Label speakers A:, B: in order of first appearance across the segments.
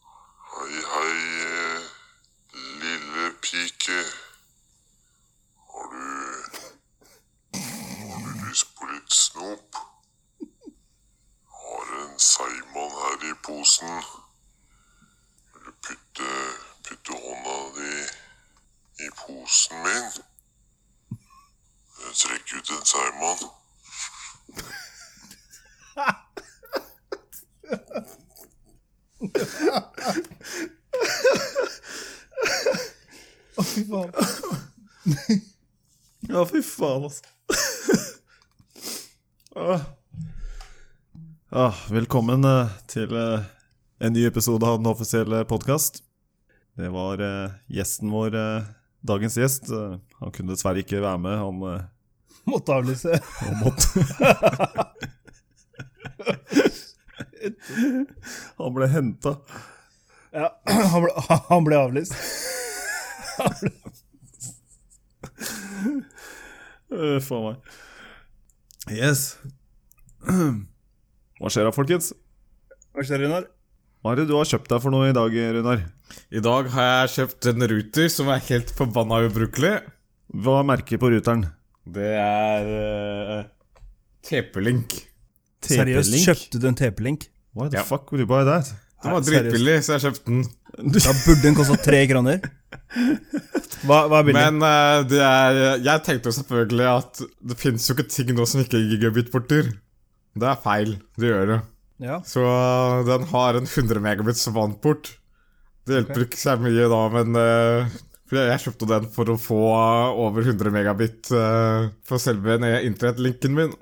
A: eh, Eh, Simon.
B: Å, fy faen.
C: Ja, fy faen, altså. Åh. Ja, Ah, velkommen eh, til eh, en ny episode av den offisielle podkast. Det var eh, gjesten vår, eh, dagens gjest. Eh, han kunne dessverre ikke være med. Han, eh,
B: Måtte avlyse.
C: han måtte Han ble henta.
B: Ja, han ble, han ble avlyst. Han ble-
C: Uff a Eh, meg. Yes. Hva skjer da, folkens?
B: Hva skjer, Runar?
C: Hva er det du har kjøpt deg for noe i dag, Runar?
D: I dag har jeg kjøpt en router som er helt forbanna ubrukelig.
C: Hva er merket på ruteren?
D: Det er eh, TP-Link.
B: Seriøst, kjøpte du en TP-link?
C: Why the
D: Ja.
C: fuck would you buy that?
D: Den var
B: Nei, seriøst.
D: dritbillig, så jeg kjøpte den.
B: Da burde den kosta tre kroner. Hva, hva er billig?
D: Men eh, det er Jeg tenkte jo selvfølgelig at det fins jo ikke ting nå som ikke er gigabit-porter. Det er feil. Det gjør det.
B: Ja.
D: Så den har en 100 megabits vannport. Det hjelper ikke så mye da, men eh, for jeg- jeg kjøpte den for å få over 100 megabit eh, på selve ned- internettlinken min.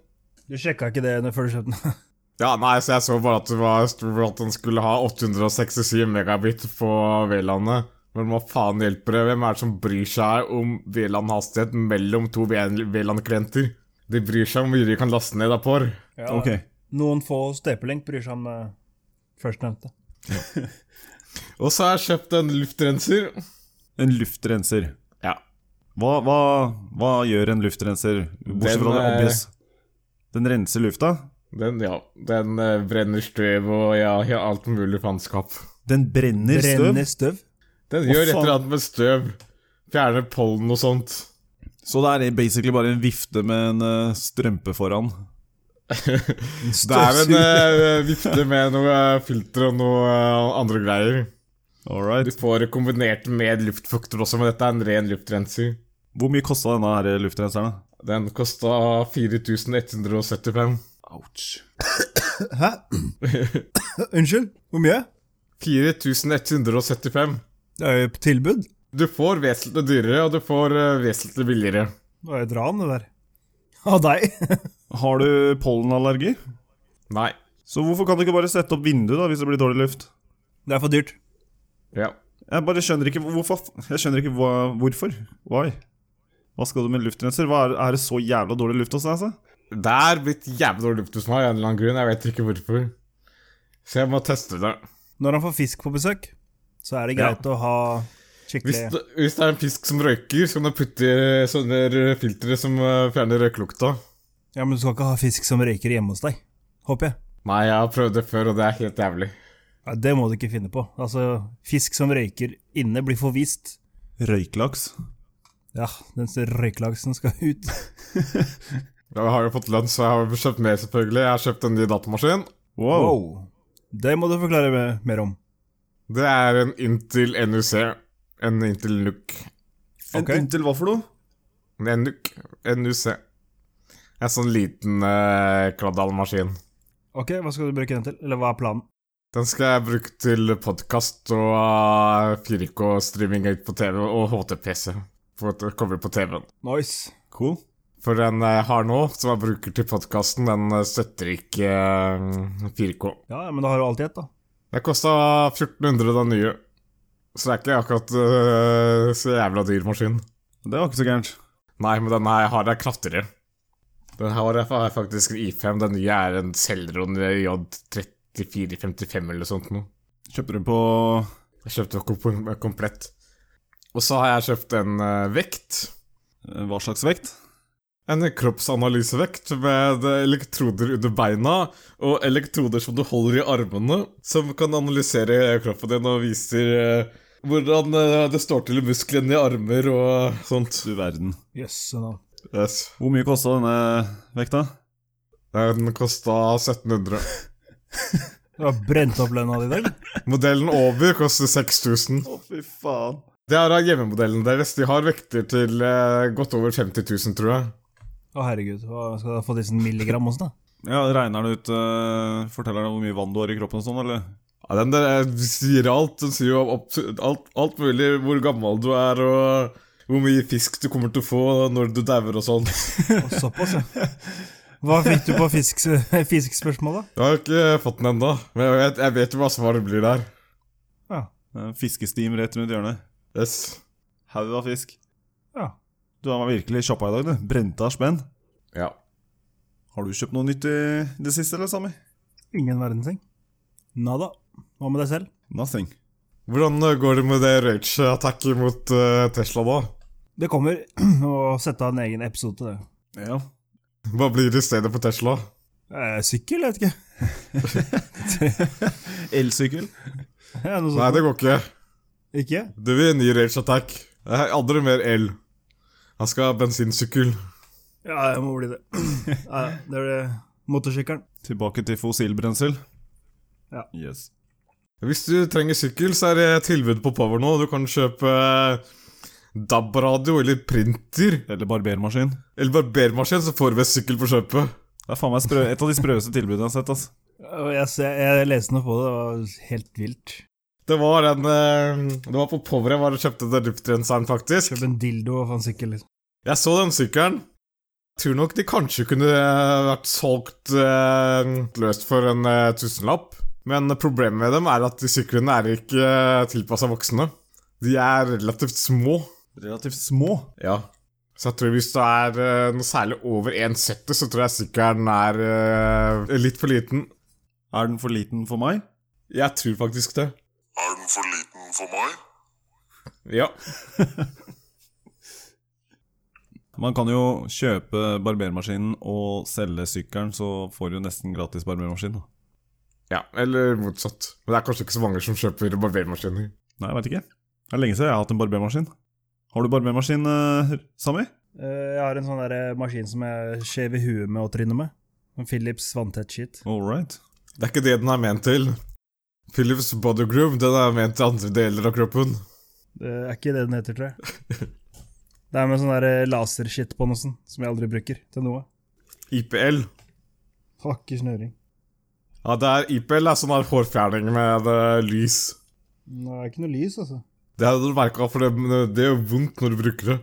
B: Du sjekka ikke det når- før du kjøpte den?
D: Ja, nei, så jeg så bare at det var sto at den skulle ha 867 megabit på VLAN-et. Men hva faen hjelper det? Hvem er det som bryr seg om VLAN-hastighet mellom to VLAN-klienter? De bryr seg om hvor mye de kan laste ned av porr.
B: Ja,
C: Ok.
B: Noen få hos TP-link bryr seg om eh, førstnevnte.
D: Og så har jeg kjøpt en luftrenser.
C: En luftrenser.
D: Ja.
C: Hva, hva, hva gjør en luftrenser? Bortsett
D: Den,
C: fra det
D: eh,
C: obvious. Den renser lufta.
D: Den, ja, den eh, brenner støv og ja, ja, alt mulig faenskap.
C: Den brenner støv.
B: Brenner støv?
D: Den
C: Hva
D: gjør et
C: faen?
D: eller annet med støv. Fjerner pollen og sånt.
C: Så det er basically bare en vifte med en eh, strømpe foran.
D: Det er en eh, vifte med noe eh, filter og noe eh, andre greier.
C: All
D: Du
C: right.
D: får det kombinert med luftfukter også, men dette er en ren luftrenser.
C: Hvor mye kosta denne her luftrenseren? da?
D: Den kosta 4175.
C: Ouch.
B: Hæ? Unnskyld? Hvor mye?
D: 4175.
B: Det er jo på tilbud.
D: Du får vesentlig dyrere, og du får eh, vesentlig billigere.
B: Det var jo et ran, det der. Av deg.
C: Har du pollenallergi?
D: Nei.
C: Så hvorfor kan du ikke bare sette opp vinduet da hvis det blir dårlig luft?
B: Det er for dyrt.
D: Ja.
C: Jeg bare skjønner ikke hvorfor. Jeg skjønner ikke hva, hvorfor. Why? Hva skal du med luftrenser? Hva er, er det så jævla dårlig luft hos deg? altså?
D: Det er blitt jævlig dårlig luft hos meg av en eller annen grunn. Jeg vet ikke hvorfor. Så jeg må teste det.
B: Når han får fisk på besøk, så er det greit å ha
D: Hvis
B: skikkelig
D: det, hvis det er en fisk som røyker, så kan du putte i sånne filtre som eh, fjerner røykelukta.
B: Ja, men du skal ikke ha fisk som røyker hjemme hos deg, håper jeg.
D: Nei, jeg har prøvd det før, og det er helt jævlig.
B: Ja, det må du ikke finne på. Altså, fisk som røyker inne blir forvist.
C: Røyklaks.
B: Ja, den røyklaksen skal ut.
D: Jeg har jo fått lønn, så jeg har kjøpt mer, selvfølgelig. Jeg har kjøpt en ny datamaskin.
C: Wow.
B: Det må du forklare me- mer om.
D: Det er en Intel NUC. En Intel NUC.
C: En
B: Ok.
C: Intel hva for noe?
D: En NUC. En NUC. En sånn liten eh, kladdalmaskin.
B: Ok, hva skal du bruke den til? Eller hva er planen?
D: Den skal jeg bruke til podkast og eh, 4K-streaming ut på TV og HT-PC. For at det kommer på TV-en.
B: Nice.
C: Cool.
D: For den jeg har nå, som jeg bruker til podkasten, den eh, støtter ikke eh, 4K.
B: Ja, ja, men da har du alltid et, da.
D: Det kosta 1400 den nye. Så det er ikke akkurat eh, så jævla dyr maskin.
C: Det var ikke så gærent.
D: Nei, men denne her har jeg kraftigere. Den her har jeg fa- faktisk en i5. Den nye er en Celeron J3455 eller sånt noe.
C: Kjøpte du på
D: Jeg kjøpte den kom komplett. Og så har jeg kjøpt en eh, vekt.
C: eh, hva slags vekt?
D: En kroppsanalysevekt med eh, elektroder under beina og elektroder som du holder i armene, som kan analysere kroppen din og viser eh, hvordan eh, det står til i musklene i armer og sånt.
C: Du verden.
B: Jøsse navn.
D: Yes.
C: Hvor mye kosta denne vekta?
D: Den kosta 1700.
B: Du har brent opp lønna di i dag.
D: Modellen over koster 6000.
C: Å, fy faen.
D: Det er av hjemmemodellen deres. De har vekter til eh, godt over 50 000, tror jeg.
B: Å, herregud. Hva skal du ha fått i sånn milligram også, da?
C: Ja, Regner den ut eh, Forteller den hvor mye vann du har i kroppen og sånn, eller?
D: Ja, den der eh, sier alt. Den sier jo opp, alt, alt mulig. Hvor gammel du er, og hvor mye fisk du kommer til å få når du dauer og sånn.
B: Og såpass, ja. Hva fikk du på fisk, fiskspørsmålet?
D: Jeg har ikke fått den ennå, men jeg vet, jeg vet jo hva svaret blir der.
B: Ja.
C: Eh, Fiskestim rett rundt hjørnet.
D: Yes.
C: Haug av fisk.
B: ja.
C: Du har virkelig shoppa i dag, du. Brente av spenn.
D: Ja.
C: Har du kjøpt noe nytt i det siste, eller, Sami?
B: Ingen verdens ting. Nada. Hva med deg selv?
C: Nothing.
D: Hvordan eh, går det med det rage-attacket mot eh, Tesla, da?
B: Det kommer å sette av en egen episode til det.
C: Ja.
D: Hva blir det i stedet for Tesla?
B: Eh, sykkel, jeg vet ikke.
C: Elsykkel.
B: Ja, noe
D: Nei,
B: sånt.
D: det går ikke.
B: Ikke?
D: Det blir en ny rage-attack. Jeg har Aldri mer el. Han skal ha bensinsykkel.
B: Ja, jeg må bli det. Ja, det er det. Motorsykkelen.
C: Tilbake til fossilbrensel.
B: Ja.
C: Yes.
D: Hvis du trenger sykkel, så er det tilbud på Power nå. Du kan kjøpe eh, DAB-radio eller printer
C: Eller barbermaskin.
D: eller barbermaskin, så får du en sykkel på kjøpet.
C: Det er faen meg sprø et av de sprøeste tilbudene jeg har sett. ass.
B: Og Jeg, ser- jeg leste noe på det, det var helt vilt.
D: Det var en eh, Det var på Power jeg var og kjøpte den luftrenser'n, faktisk.
B: Kjøp en dildo og få en sykkel, liksom.
D: Jeg så den sykkelen. Tror nok de kanskje kunne eh, vært solgt eh, løst for en eh, tusenlapp. Men problemet med dem er at de syklene er ikke eh, tilpassa voksne. De er relativt små.
C: Relativt små.
D: Ja. Så jeg tror hvis du er eh, noe særlig over 1,70, så tror jeg sykkelen er eh, litt for liten.
C: Er den for liten for meg?
D: Jeg tror faktisk det.
A: Er den for liten for meg?
D: Ja.
C: Man kan jo kjøpe barbermaskinen og selge sykkelen, så får du nesten gratis barbermaskin. da.
D: ja. Eller motsatt. Men det er kanskje ikke så mange som kjøper barbermaskiner.
C: Nei, jeg veit ikke. Det er lenge siden jeg har hatt en barbermaskin. Har du barbermaskin, eh, Sami?
B: Eh, Jeg har en sånn der maskin som jeg skjev i huet med og trynet med. En Philips vanntett shit.
C: All right.
D: Det er ikke det den er ment til. Philips body groove den er ment til andre deler av kroppen.
B: Det er ikke det den heter, tror jeg. Det er med sånn der lasershit på noe sånt, som jeg aldri bruker til noe.
D: IPL.
B: Har ikke snøring.
D: Ja, det er IPL er sånn her hårfjerning med eh, lys.
B: Det er ikke noe lys, altså.
D: Det hadde du merka, for det, det gjør vondt når du bruker det.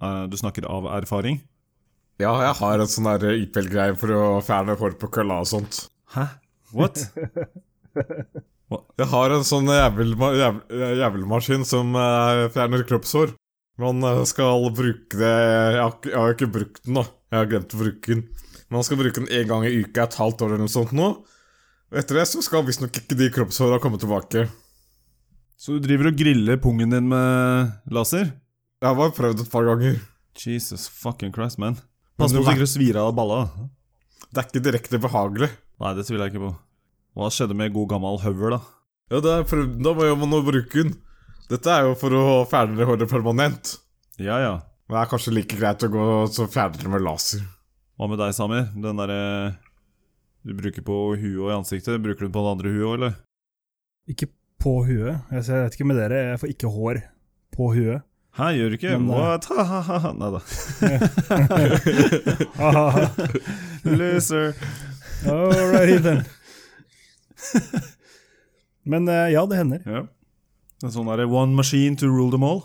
C: Eh, Du snakker av erfaring?
D: Ja, jeg har en sånn der IPL-greie for å fjerne hår på kølla og sånt.
C: Hæ? What?
D: Jeg har en sånn jævelma, jævel, jævelmaskin som eh, fjerner kroppshår. Man eh, skal bruke det jeg har, ikke- jeg har ikke brukt den, da. Jeg har glemt å bruke den. Man skal bruke den én gang i uka et halvt år eller noe sånt nå. Og etter det så skal visstnok ikke de kroppshåra komme tilbake.
C: Så du driver og griller pungen din med laser?
D: Jeg har bare prøvd et par ganger.
C: Jesus fucking Christ, man. Pass på
D: Men det
C: så
D: var-
C: ikke du svir av deg balla. da.
D: Det er ikke direkte behagelig.
C: Nei, det tviler jeg ikke på. Hva skjedde med god gammel høvel, da?
D: Ja, det er prøvd, Da må man jo bruke den. Dette er jo for å fjerne håret permanent.
C: Ja ja.
D: Men det er kanskje like greit å gå så fjerne det med laser.
C: Hva med deg, Samir? Den derre du bruker på huet og i ansiktet, bruker du den på det andre huet òg, eller?
B: Ikke på huet. Jeg ser- jeg vet ikke med dere, jeg får ikke hår på huet.
C: Hæ, gjør du ikke?
B: Men, eh,
C: What? Ha-ha-ha. Nei da.
B: Ah, All
C: Loser.
B: righty then. Men eh, ja, det hender.
C: Ja. En sånn derre one machine to rule them all.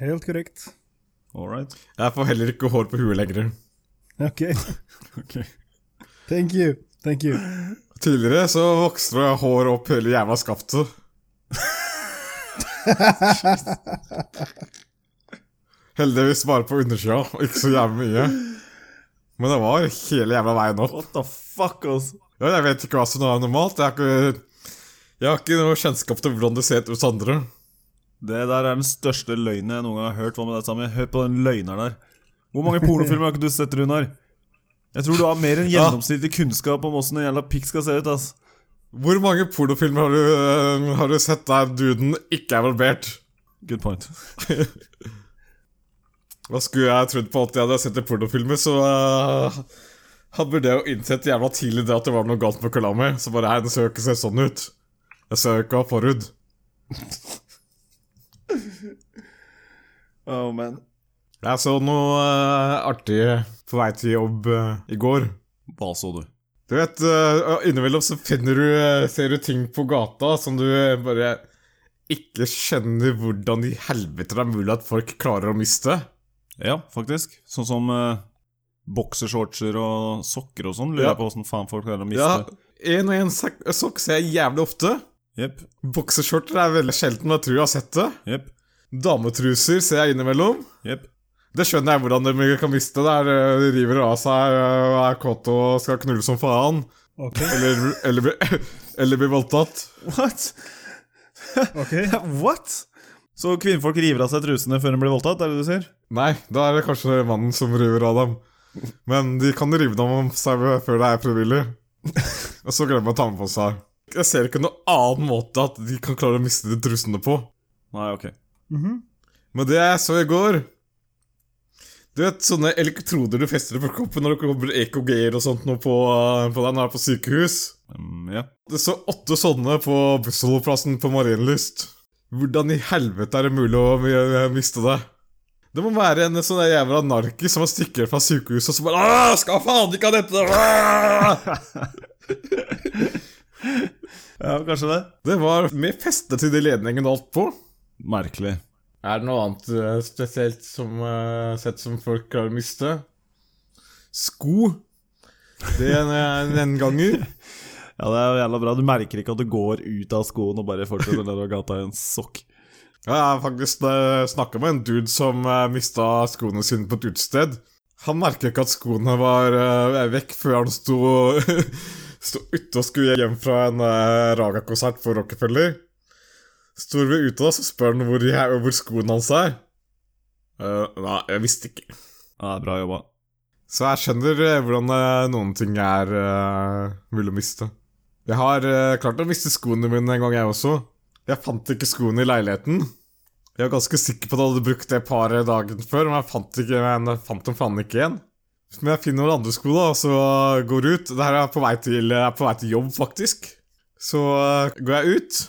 B: Helt korrekt.
C: All right.
D: Jeg får heller ikke hår på huet lenger.
B: Ok. Thank you. Thank you.
D: Tidligere så vokste det hår opp hele jævla skaftet. Heldigvis bare på undersida, og ikke så jævlig mye. Men det var hele jævla veien opp.
C: What the fuck, altså?
D: Ja, Jeg vet ikke hva som er normalt. Jeg har ikke, jeg har ikke noe kjennskap til hvordan det ser ut hos andre.
C: Det der er den største løgnen jeg noen gang har hørt. Hva med deg, Sami? Hør på den løgneren der. Hvor mange pornofilmer har ikke du sett, Runar? Jeg tror du har mer enn gjennomsnittlig kunnskap om åssen en jævla pikk skal se ut. ass.
D: Hvor mange pornofilmer har du, øh, har du sett der duden ikke er barbert?
C: Good point.
D: Hva skulle jeg trodd på at jeg hadde sett i pornofilmer, så uh, han burde jo innsett jævla tidlig det at det var noe galt med kølla mi. Så bare her, den ser jo ikke se sånn ut. Jeg ser jo ikke å ha forhud.
C: Oh, man.
D: Jeg så noe uh, artig på vei til jobb eh, i går.
C: Hva så du?
D: Du vet, eh, innimellom så finner du, eh, ser du ting på gata som du eh, bare ikke skjønner hvordan i helvete det er mulig at folk klarer å miste.
C: Ja, faktisk. Sånn som eh, boksershortser og sokker og sånn. Lurer
D: Ja.
C: jeg på åssen faen folk klarer å
D: Ja,
C: miste.
D: En og en sak- sokk ser jeg jævlig ofte.
C: Jepp.
D: Bokseskjorter er veldig sjelden, men jeg tror jeg har sett det.
C: Jepp.
D: Dametruser ser jeg innimellom.
C: Jepp.
D: Det skjønner jeg hvordan de kan miste. det er, eh, De river av seg, eh, er kåte og skal knulle som faen.
B: Ok,
D: Eller, eller, blir- eller blir voldtatt.
C: What?
B: ok.
C: What? Så kvinnfolk river av seg trusene før de blir voldtatt, er det det du sier?
D: Nei, da er det kanskje mannen som river av dem. Men de kan rive dem om seg før det er frivillig. Og så glemmer de å ta med på seg. Jeg ser ikke noen annen måte at de kan klare å miste de trusene på.
C: Nei, ok.
B: Mhm.
D: Men det jeg så i går Du vet sånne elektroder du fester på kroppen når det kommer EKG-er og sånt noe på, på deg når du er på sykehus?
C: Mm, ja.
D: Det så åtte sånne på bussholdeplassen på Marienlyst. Hvordan i helvete er det mulig å mi- miste det? Det må være en sånn der jævla narkis som har stukket fra sykehuset og så bare «Åh, skal faen ikke ha dette! Åh!»
C: ja, kanskje det.
D: Det var med feste til de ledningene og alt på.
C: Merkelig.
D: Er det noe annet eh, spesielt som, eh, sett som folk klarer å miste? Sko. Det er en, en gjenganger.
C: Ja, det er jo jævla bra. Du merker ikke at du går ut av skoen og bare fortsetter der og gata i en sokk.
D: Jeg har faktisk eh, snakket med en dude som eh, mista skoene sine på et utested. Han merket ikke at skoene var eh, vekk før han sto, sto ute og skulle hjem fra en eh, Raga-konsert for Rockefeller. Står vi ute, da, så spør han hvor, jeg- hvor skoene hans er. Eh, nei, jeg visste ikke.
C: Ja, det er bra jobba.
D: Så jeg skjønner eh, hvordan eh, noen ting er eh, mulig å miste. Jeg har eh, klart å miste skoene mine en gang, jeg også. Jeg fant ikke skoene i leiligheten. Jeg var ganske sikker på at jeg hadde brukt det paret dagen før, men jeg fant, ikke, men jeg fant dem faen ikke igjen. Men jeg finner noen andre sko, da, og så går jeg ut. Det her er jeg på vei til, jeg er på vei til jobb, faktisk. Så eh, går jeg ut,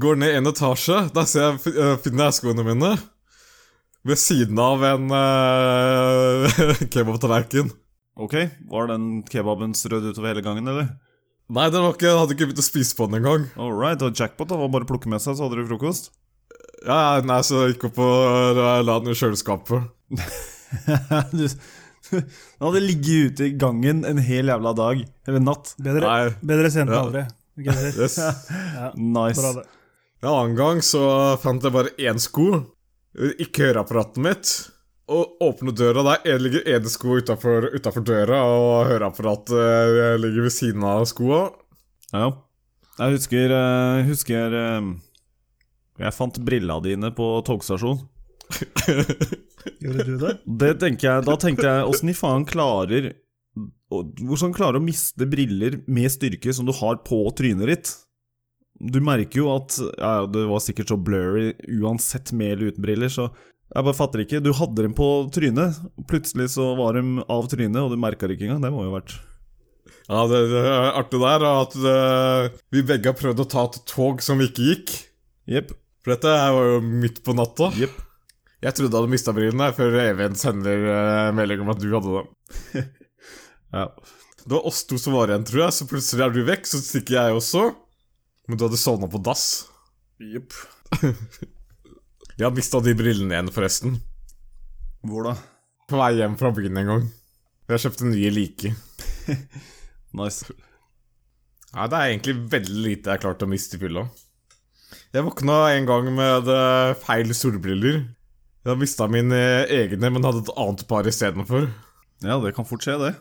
D: går ned en etasje. Der ser jeg, eh, finner jeg skoene mine. Ved siden av en uh, kebabtallerken.
C: Ok, var den kebaben strødd utover hele gangen, eller?
D: Nei, den var ikke, jeg hadde ikke begynt å spise på den engang.
C: All right, og jackpot, da. Var bare å plukke med seg, så hadde du frokost.
D: Ja, ja, nei, så jeg gikk opp og eh, la den i kjøleskapet.
C: du, den hadde ligget ute i gangen en hel jævla dag. Eller natt.
B: Bedre,
D: Nei,
B: bedre sent enn
D: Ja.
B: aldri. Ok, jeg ser.
D: yes.
B: Ja, bra
C: Nice.
B: det.
D: En annen gang så fant jeg bare én sko. Ikke høreapparatet mitt. Og åpnet døra, der en- ligger ene sko utafor døra, og høreapparatet eh, ligger ved siden av skoa.
C: Ja, ja. Jeg husker, eh, husker eh, Jeg fant brilla dine på togstasjonen.
B: Gjorde du det?
C: Det tenker jeg, da tenkte jeg åssen i faen klarer og- Hvordan klarer du å miste briller med styrke som du har på trynet ditt? Du merker jo at ja, ja, Det var sikkert så blurry uansett med eller uten briller, så jeg bare fatter ikke. Du hadde dem på trynet, og plutselig så var de av trynet, og du merka det ikke engang. Det må jo ha vært
D: Ja, det, det artige der er at eh, vi begge har prøvd å ta et tog som ikke gikk.
C: Jepp.
D: For dette her var jo midt på natta.
C: Jepp.
D: Jeg trodde jeg hadde mista brillene før Even sender eh, melding om at du hadde dem.
C: Ja.
D: Det var oss to som var igjen, tror jeg, så plutselig er du vekk, så stikker jeg også. Men du hadde sovna på dass.
C: Jepp.
D: Jeg har mista de brillene igjen, forresten.
C: Hvor da?
D: På vei hjem fra byen en gang. Jeg kjøpte nye like.
C: Nice.
D: Nei, det er egentlig veldig lite jeg har klart å miste i fylla. Jeg våkna en gang med eh, feil solbriller. Jeg har mista mine eh, egne, men hadde et annet par istedenfor.
C: Ja, det kan fort skje, det.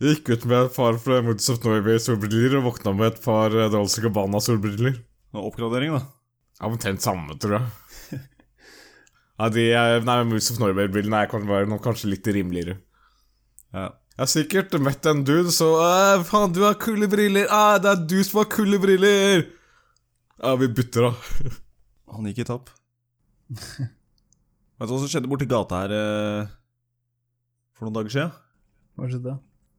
D: Jeg gikk ut med et par fra Moods of Norway-solbriller og våkna med et par eh, Dolce Gabbana-solbriller.
C: Det er Oppgradering, da.
D: Ja, Omtrent samme, tror jeg. ja, de er, nei, Moods of Norway-brillene er kanskje, var nok kanskje litt rimeligere.
C: Ja.
D: Jeg har sikkert møtt en dude så «Æ, 'Faen, du har kule briller!' «Æ, 'Det er du som har kule briller!' Ja, vi bytter, da.
C: Han gikk i tapp. Vet du hva som skjedde borti gata her eh, for noen dager siden?
B: Hva skjedde?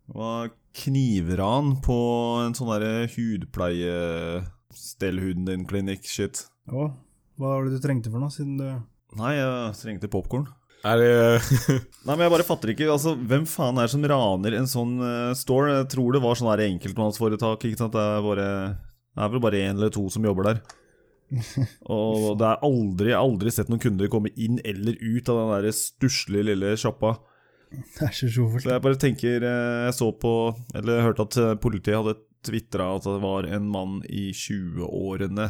C: Det var knivran på en sånn derre hudpleie Stell huden din-klinikk-shit.
B: Å, hva var det du trengte for noe, siden du
C: Nei, jeg trengte popkorn.
D: Er det
C: Nei, men jeg bare fatter ikke, altså, Hvem faen er det som raner en sånn eh, store? Jeg tror det var sånn her enkeltmannsforetak. ikke sant? Det er, bare, det er vel bare én eller to som jobber der. Og det er aldri, jeg har aldri sett noen kunder komme inn eller ut av den der stusslige lille sjappa.
B: Det er så sjovt.
C: Så jeg bare tenker eh, Jeg så på, eller jeg hørte at eh, politiet hadde tvitra at det var en mann i 20-årene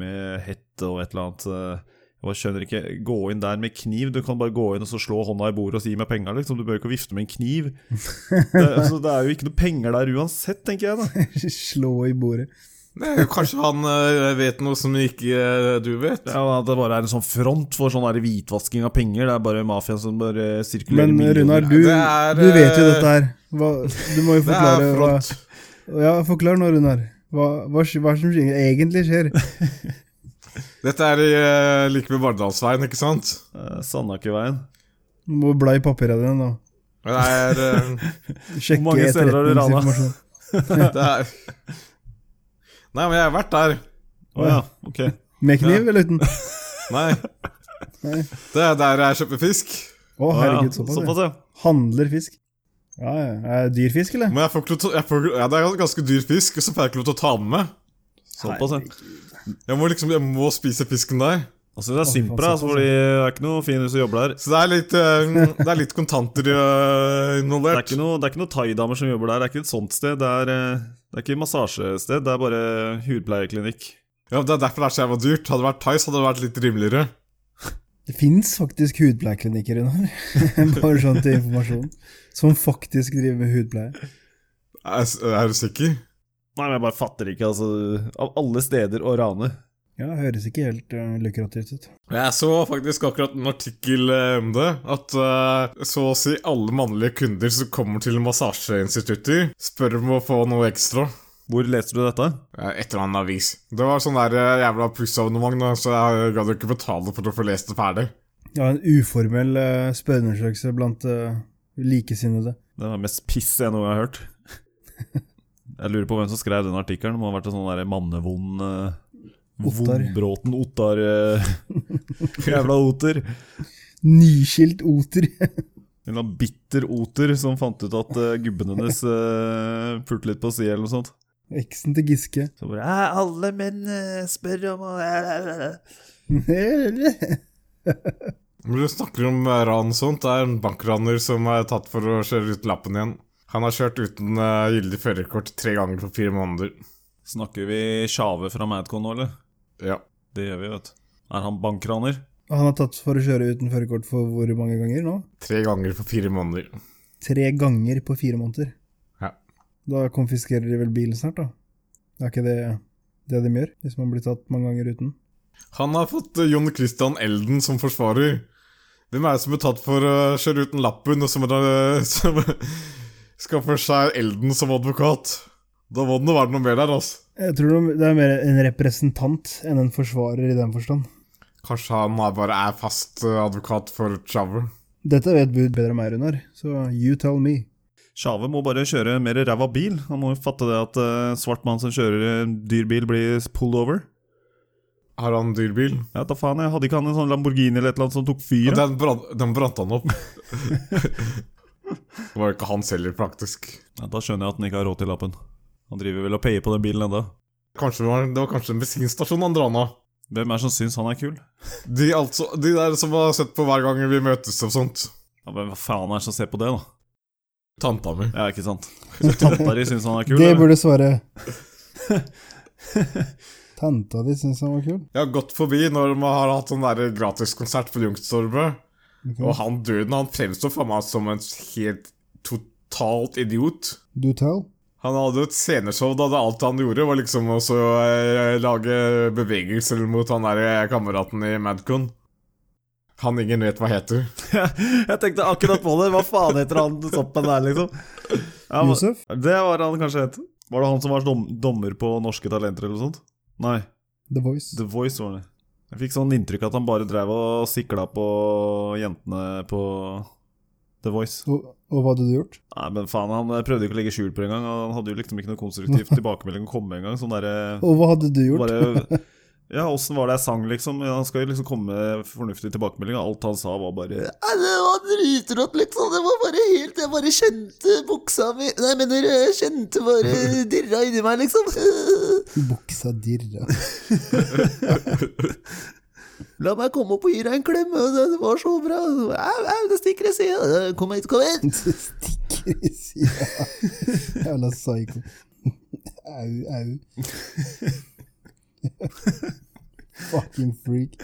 C: med hette og et eller annet. eh, Jeg bare skjønner ikke Gå inn der med kniv. Du kan bare gå inn og så slå hånda i bordet og si meg penger, liksom. Du bør ikke vifte med en kniv. Det, altså, det er jo ikke noe penger der uansett, tenker jeg da.
B: Slå i bordet.
D: Nei, Kanskje han eh, vet noe som ikke eh, du vet?
C: Ja, at det bare er en sånn front for sånn der hvitvasking av penger. Det er bare mafiaen som bare sirkulerer
B: Men
C: millioner.
B: Runar, du,
D: Det er,
B: du vet jo
D: eh,
B: dette her. Hva, du må jo
D: Det er
B: forklare hva
D: flott.
B: Ja, forklar nå, Runar. Hva, hva, sk- hva som skjer- egentlig skjer?
D: Dette er eh, like ved Bardalsveien, ikke sant?
C: Eh, Sandakerveien.
B: Du må bla i papirene dine nå.
D: Det er, eh,
B: Sjekke
C: mange steder har du rana?
B: etterretningsinformasjon.
D: det er Nei, men jeg har vært der.
C: Å ja, ok.
B: Med kniv eller uten? Å,
D: Nei.
B: Nei.
D: Det er der jeg kjøper fisk.
C: Å ja,
B: herregud, såpass. ja.
C: såpass, ja.
B: Handler fisk. Ja, ja. Er det dyr fisk, eller?
D: Men jeg får ikke lov til å jeg får, ja, Det er ganske dyr fisk, så får jeg ikke lov til å ta den med.
C: Såpass, ja.
D: Jeg må liksom, jeg må spise fisken der.
C: Altså det er
B: Å,
C: synd på deg, altså,
B: såpass,
C: fordi det er ikke noe fin hus å jobbe der.
D: Så det er litt, eh, det er litt kontanter eh,
C: Det er
D: involvert.
C: ikke noe, det er ikke noe thaidamer som jobber der, det er ikke et sånt sted. Det er, eh, det er ikke massasjested, det er bare hudpleieklinikk.
D: Ja, Det er derfor det er så jævla dyrt. Hadde det vært Thais, hadde det vært litt rimeligere.
B: Det fins faktisk hudpleieklinikker, Runar. Bare sånn til informasjon. Som faktisk driver med hudpleie.
D: Er, er du sikker?
C: Nei, men jeg bare fatter ikke, altså. Av alle steder å rane.
B: Ja, høres ikke helt eh, lukrativt ut.
D: Jeg så faktisk akkurat en artikkel eh, om det. At eh, så å si alle mannlige kunder som kommer til massasjeinstitutter, spør om å få noe ekstra.
C: Hvor leser du dette?
D: Eh, Et eller annet avis. Det var sånn der eh, jævla plussabonnement, da, så jeg gadd ikke betale for å få lest det ferdig.
B: Ja, en uformell uh, spørreundersøkelse blant eh, likesinnede.
C: Det var mest piss jeg noe jeg har hørt. Jeg lurer på hvem som skrev den artikkelen. Det må ha vært en sånn der mannevond eh,
B: Ottar.
C: Vondbråten Ottar eh, Jævla Oter.
B: Nyskilt oter.
C: En eller annen bitter Oter som fant ut at eh, gubben hennes uh, pulte litt på si eller noe sånt.
B: Eksen til Giske.
C: Så bare Alle menn eh, spør om
D: Men du snakker om eh, ran og sånt. Det er en bankraner som er tatt for å kjøre ut lappen igjen. Han har kjørt uten eh, gyldig førerkort tre ganger på fire måneder.
C: Snakker vi Sjave fra Madcon nå, eller?
D: Ja.
C: Det gjør vi, vet du. Er han bankraner?
B: Han har tatt for å kjøre uten førerkort for hvor mange ganger nå?
D: Tre ganger på fire måneder.
B: Tre ganger på fire måneder.
D: Ja.
B: Da konfiskerer de vel bilen snart, da. Det er ikke det, det de gjør, hvis man blir tatt mange ganger uten.
D: Han har fått eh, Jon Christian Elden som forsvarer. Hvem er det som er tatt for å kjøre uten lappen, og som, eh, som skaffer seg Elden som advokat? Da må det nå være noe mer der, altså.
B: Jeg tror det er mer en representant enn en forsvarer i den forstand.
D: Kanskje han er- bare er fast eh, advokat for Chauver.
B: Dette vet Bud bedre enn meg, Runar, så you tell me.
C: Sjave må bare kjøre mer ræva bil. Han må jo fatte det at eh, svart mann som kjører en dyr bil, blir pulled over.
D: Har han dyr bil?
C: Ja, da faen, jeg hadde ikke han en sånn Lamborghini eller et eller annet som tok
D: Og
C: fyr? da?
D: den, brant, den brant han opp. det var jo ikke hans heller, praktisk.
C: Ja, da skjønner jeg at han ikke har råd til lappen. Han driver vel og payer på den bilen enda.
D: Kanskje det var, det var kanskje en bensinstasjon han drana.
C: Hvem er det som syns han er kul?
D: De, altså, de der som har sett på hver gang vi møtes og sånt.
C: Ja, men Hva faen er det som ser på det, da?
D: Tanta mi.
C: Ja, ikke sant? Så tanta di syns han er kul?
B: det
C: eller?
B: burde svare. Tanta di syns han var kul.
D: Jeg har gått forbi når man har hatt sånn der gratiskonsert på Youngstorget. Og han duden han fremstår for meg som en helt totalt idiot.
B: Do tell.
D: Han hadde jo et sceneshow da det alt han gjorde, var liksom også eh, lage bevegelser mot han der eh, kameraten i Madcon. Han ingen vet hva heter.
C: Jeg tenkte akkurat på det. Hva faen heter han soppen der, liksom? Ja, men-
B: Josef?
C: Det var han kanskje het. Var det han som var dom dommer på Norske Talenter eller noe sånt? Nei,
B: The Voice.
C: The Voice var det. Jeg fikk sånn inntrykk at han bare drev og sikla på jentene på The Voice.
B: Og, og hva hadde du gjort?
C: Nei, men faen, han prøvde jo ikke å legge skjul på det engang. og Han hadde jo liksom ikke noe konstruktiv tilbakemelding å komme med engang. Sånn derre
B: Og hva hadde du gjort?
C: bare Ja, åssen var det jeg sang, liksom? Ja, Han skal jo liksom komme med fornuftige tilbakemeldinger. Alt han sa, var bare «Nei, Det var dritrått, liksom. Det var bare helt Jeg bare kjente buksa mi Nei, men dere jeg kjente bare dirra inni meg, liksom.
B: Buksa dirra.
C: La meg komme opp og gi deg en klem. Det det var så bra. Au, au, det stikker i sida. Kom hit, kom hit.
B: Det stikker i sida. Jævla psyko. Au, au. Fucking freak.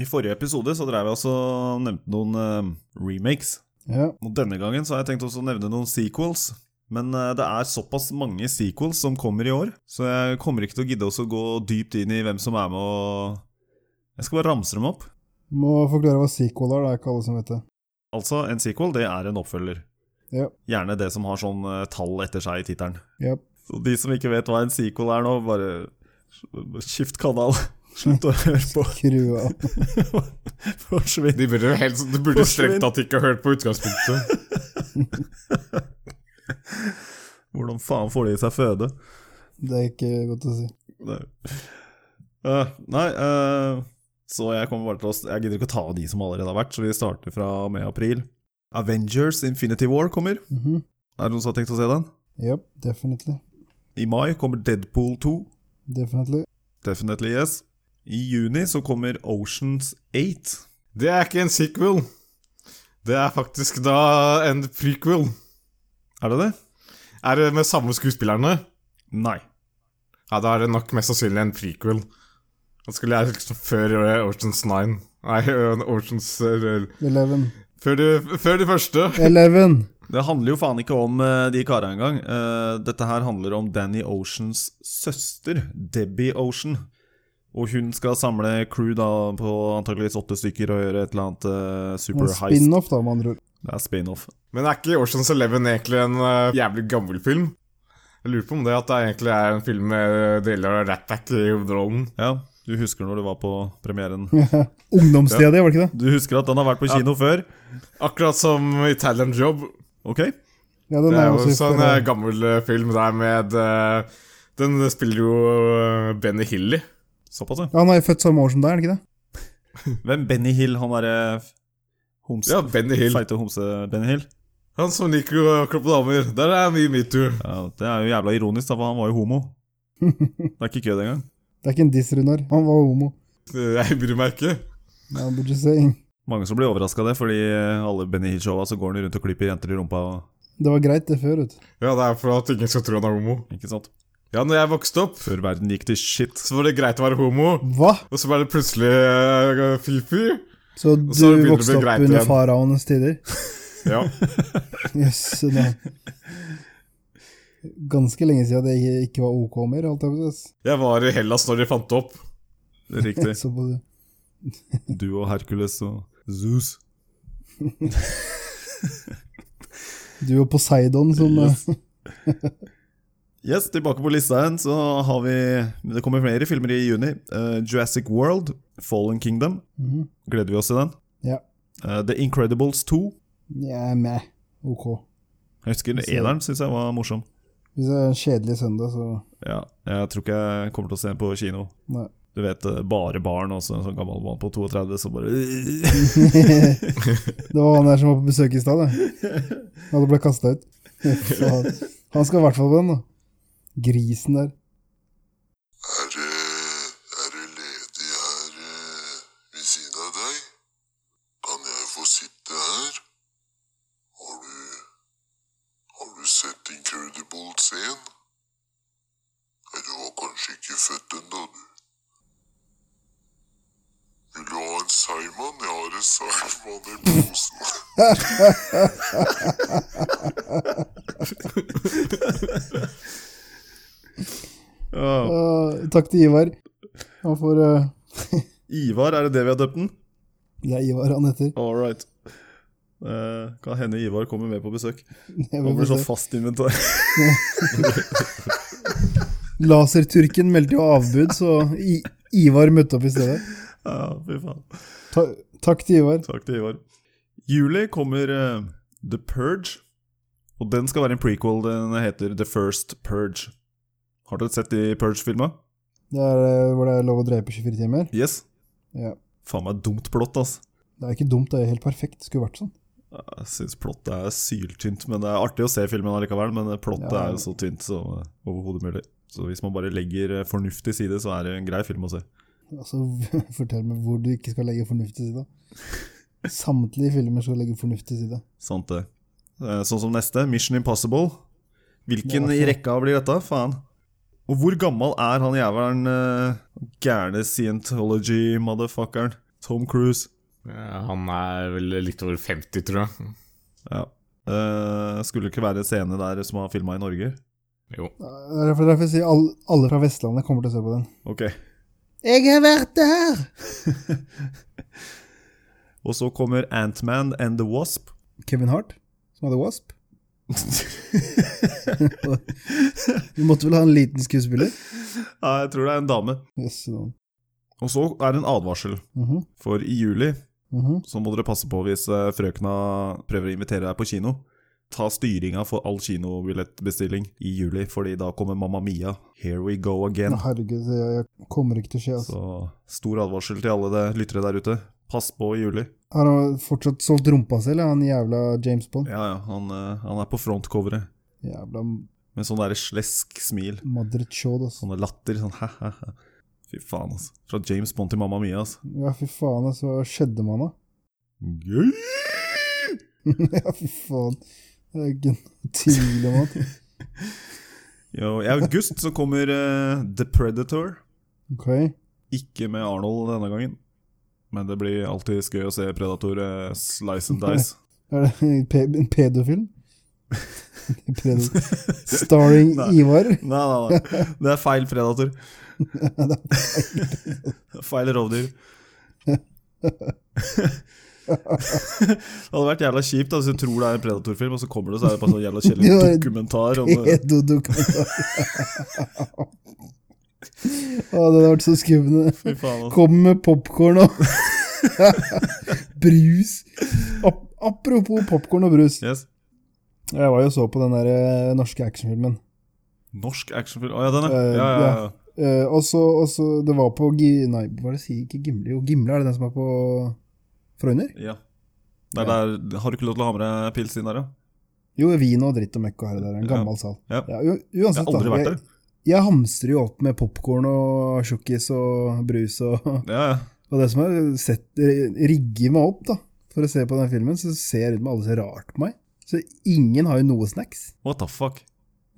C: I forrige episode så drev jeg også og nevnte noen eh, remakes.
B: Ja.
C: Og denne gangen så har jeg tenkt også å nevne noen sequels. Men eh, det er såpass mange sequels som kommer i år, så jeg kommer ikke til å gidde også å gå dypt inn i hvem som er med og Jeg skal bare ramse dem opp.
B: Må forklare hva sequel er, det er ikke alle som vet det.
C: Altså, en sequel det er en oppfølger.
B: Ja.
C: Gjerne det som har sånn eh, tall etter seg i tittelen.
B: Ja.
C: Så de som ikke vet hva en sequel er nå, bare skift kanal. Slutt å høre på.
B: Skru av.
C: Forsvinn.
D: De burde jo helst, de burde strengt tatt ikke hørt på utgangspunktet.
C: Hvordan faen får de i seg føde?
B: Det er ikke godt å si.
C: Nei. Eh, nei eh, så jeg kommer bare til å Jeg gidder ikke å ta av de som allerede har vært, så vi starter fra og med april. Avengers Infinity War kommer.
B: Mhm.
C: Er det noen som har tenkt å se den?
B: Ja, definitely.
C: I mai kommer Deadpool 2.
B: Definitely.
C: Definitely yes. I juni så kommer Oceans 8.
D: Det er ikke en sequel. Det er faktisk da en prequel.
C: Er det det?
D: Er det med samme skuespillerne?
C: Nei.
D: Ja, da er det nok mest sannsynlig en prequel. Han skulle jeg liksom før eh, Oceans 9. Nei, eh, Oceans eh,
B: Eleven.
D: Før de, før de første.
B: Eleven!
C: Det handler jo faen ikke om eh, de karene engang. Eh, dette her handler om Danny Oceans søster, Debbie Ocean. Og hun skal samle crew da på antakeligvis åtte stykker og gjøre et eller annet eh,
B: En
C: super heist.
B: Spin-off, da, med andre ord.
C: Det er spin-off.
D: Men er ikke Oceans Eleven egentlig en eh, jævlig gammel film? Jeg lurer på om det at det egentlig er en film med eh, deler av Rat Pack i hovedrollen.
C: Ja, du husker når du var på premieren.
B: Ungdomstida di, var det ikke det?
C: Du husker at den har vært på kino før?
D: Akkurat som Italian Job.
C: Ok?
B: Ja, den
D: Det
B: er
D: er
B: jo
D: jo
B: også
D: sånn
B: fra-
D: eh, gammel eh, film der med eh, Den spiller jo eh, Benny Hill i.
C: Såpass, ja.
B: Ja, Han er jo født samme år som deg, er han ikke det?
C: Hvem? Benny Hill, han derre homse...
D: Ja, Benny Hill.
C: Feite homse-Benny Hill?
D: Han som liker å kroppe damer. Der er mye metoo.
C: Ja, det er jo jævla ironisk, da, for han var jo homo. Det er ikke kødd engang.
B: Det er ikke en diss, Runar. Han var homo.
D: Eh, Jeg bryr meg ikke.
B: No, I'm just saying.
C: Mange som blir overraska av det, fordi eh, alle Benny Hill-showa så går han rundt og klyper jenter i rumpa. Og,
B: Det var greit, det før, vet du.
D: Ja, det er for at ingen skal tro han er homo.
C: ikke sant?
D: Ja, når jeg vokste opp,
C: Før verden gikk til shit.
D: så var det greit å være homo.
B: Hva?
D: Og så ble det plutselig eh, fy-fy.
B: Så
D: Og så begynner det
B: du
D: å bli
B: vokste opp
D: greit
B: under
D: igjen.
B: faraonenes tider?
D: Ja.
B: Jøss. det- Ganske lenge siden det ikke- ikke var OK mer, holdt jeg på å si.
D: Jeg var i Hellas når de fant det opp.
C: Riktig.
B: Så på det.
C: Du og Hercules og Zeus.
B: Du og Poseidon som
C: Yes.
B: eh,
C: Yes, tilbake på lista igjen, så har vi men Det kommer flere filmer i juni. Eh, Jurassic World, Fallen Kingdom.
B: mhm.
C: Gleder vi oss til den.
B: Ja.
C: Eh, The Incredibles 2.
B: Nja, meh. OK.
C: Jeg husker eneren syns jeg var morsom.
B: Hvis det er en kjedelig søndag, så
C: Ja, Jeg tror ikke jeg kommer til å se den på kino.
B: Nei.
C: Du vet, eh, bare barn og så en sånn gammel mann på 32 som bare
B: det var han der som var på besøk i stad, det. Han ble kasta ut. Så han, han skal i hvert fall på den, da. Grisen der.
A: Er det Er det ledig her eh, ved siden av deg? Kan jeg få sitte her? Har du Har du sett Incredibles 1? Nei, du var kanskje ikke født ennå, du. Vil du ha en seigmann? Jeg har en seigmann i posen.
C: Ja.
B: Eh, takk til Ivar. Han får eh,
C: Ivar, er det det vi har døpt den?
B: Det er Ivar han heter.
C: All right. Eh, kan hende Ivar kommer med på besøk.
B: Jeg
C: Han blir
B: vet
C: sånn
B: ikke.
C: fast inventar.
B: Laserturken meldte jo avbud, så I Ivar møtte opp i stedet.
C: ja, fy faen.
B: Ta takk til Ivar.
C: Takk til Ivar. Juli kommer eh, The Purge. Og den skal være en prequel. Den heter The First Purge. Har dere sett de Purge-filma?
B: Det er eh, hvor det er lov å drepe 24 timer.
C: Yes.
B: Ja.
C: Faen meg dumt plott, ass.
B: Det er ikke dumt, det er helt perfekt. Skulle vært sånn.
C: Jeg syns plottet er syltynt, men det er artig å se filmen allikevel. Men plottet
B: Ja.
C: er jo så tynt som eh, overhodet mulig. Så hvis man bare legger eh, fornuft til side, så er det en grei film å se.
B: Altså, Fortell meg hvor du ikke skal legge fornuft til side. Samtlige filmer skal legge fornuft til side.
C: Sant det. Eh, Sånn som neste, Mission Impossible. Hvilken
B: Ja,
C: i
B: faen.
C: rekka blir dette? Faen. Og hvor gammel er han jævelen eh, gærne scientology-motherfuckeren? Tom Cruise.
D: Ja, Eh, han er vel litt over 50, tror jeg.
C: Ja. Eh, skulle det ikke være en scene der som har filma i Norge?
D: Jo.
B: Det er derfor derfor jeg sier alle, alle fra Vestlandet kommer til å se på den.
C: Ok.
B: Jeg har vært der!
C: Og så kommer Antman and the Wasp.
B: Kevin Hart, som hadde Wasp. Vi måtte vel ha en liten skuespiller?
C: ja, jeg tror det er en dame.
B: Yes, no.
C: Og så er det en advarsel,
B: Mhm,
C: for i juli
B: mhm.
C: så må dere passe på hvis eh, frøkna prøver å invitere deg på kino. Ta styringa for all kinobillettbestilling i juli, fordi da kommer Mamma Mia. Here we go again.
B: Nå, Herregud, jeg, jeg kommer ikke til å skje. Altså.
C: Så stor advarsel til alle de lyttere der ute. Pass på i juli.
B: Har han fortsatt solgt rumpa si, eller han jævla James Bond?
C: Ja, ja, han, eh, han er på frontcoveret
B: Jævla
C: med sånn derre slesk smil.
B: Madrid Shaw, altså.
C: Sånne latter, sånn hæ-hæ-hæ. Fy faen, altså. Fra James Bond til Mamma Mia, altså.
B: Ja, fy faen, altså. Hva skjedde med han, da?
C: Gøy!
B: ja, fy faen. Det er ikke noe tvil om altså. at
C: Jo, I august så kommer eh, The Predator.
B: Ok.
C: Ikke med Arnold denne gangen. Men det blir alltid skøy å se Predator eh, slice and dice.
B: Er det en pe- en pedofilm? Predator. Starring
C: Nei.
B: Ivar?
C: Nei, nei, nei. Det er feil Predator. feil rovdyr. det hadde vært jævla kjipt da, hvis du tror det er en Predator-film, og så kommer det så er det bare sånn jævla kjedelig
B: Det var-
C: dokumentar. Om, det.
B: Pedodokumentar. Å, det hadde vært så skummende.
C: fy faen, altså.
B: Kom med popkorn og brus. Ap apropos popkorn og brus.
C: Yes.
B: Jeg var jo og så på den der eh, norske actionfilmen.
C: Norsk actionfilm. Å ja, den, ja.
B: Eh,
C: Ja, ja, ja.
B: Eh, og så, og så- det var på Gi... Nei, hva er det jeg sier? Ikke Gimle, jo. Gimle er det den som er på Frøyner?
C: ja. Det er der, har du ikke lov til å ha med deg pils inn der, ja?
B: Jo, vin og dritt og møkk og her og der. En
C: Ja.
B: gammel sal.
C: Ja.
B: u- uansett,
C: Jeg har aldri
B: da,
C: vært
B: jeg, jeg hamstrer jo opp med popkorn og tjukkis og brus og,
C: Ja, ja.
B: og det som er sett, rigger meg opp da, for å se på den filmen, så ser jeg rundt meg alle så rart på meg. Så ingen har jo noe snacks.
C: What the fuck?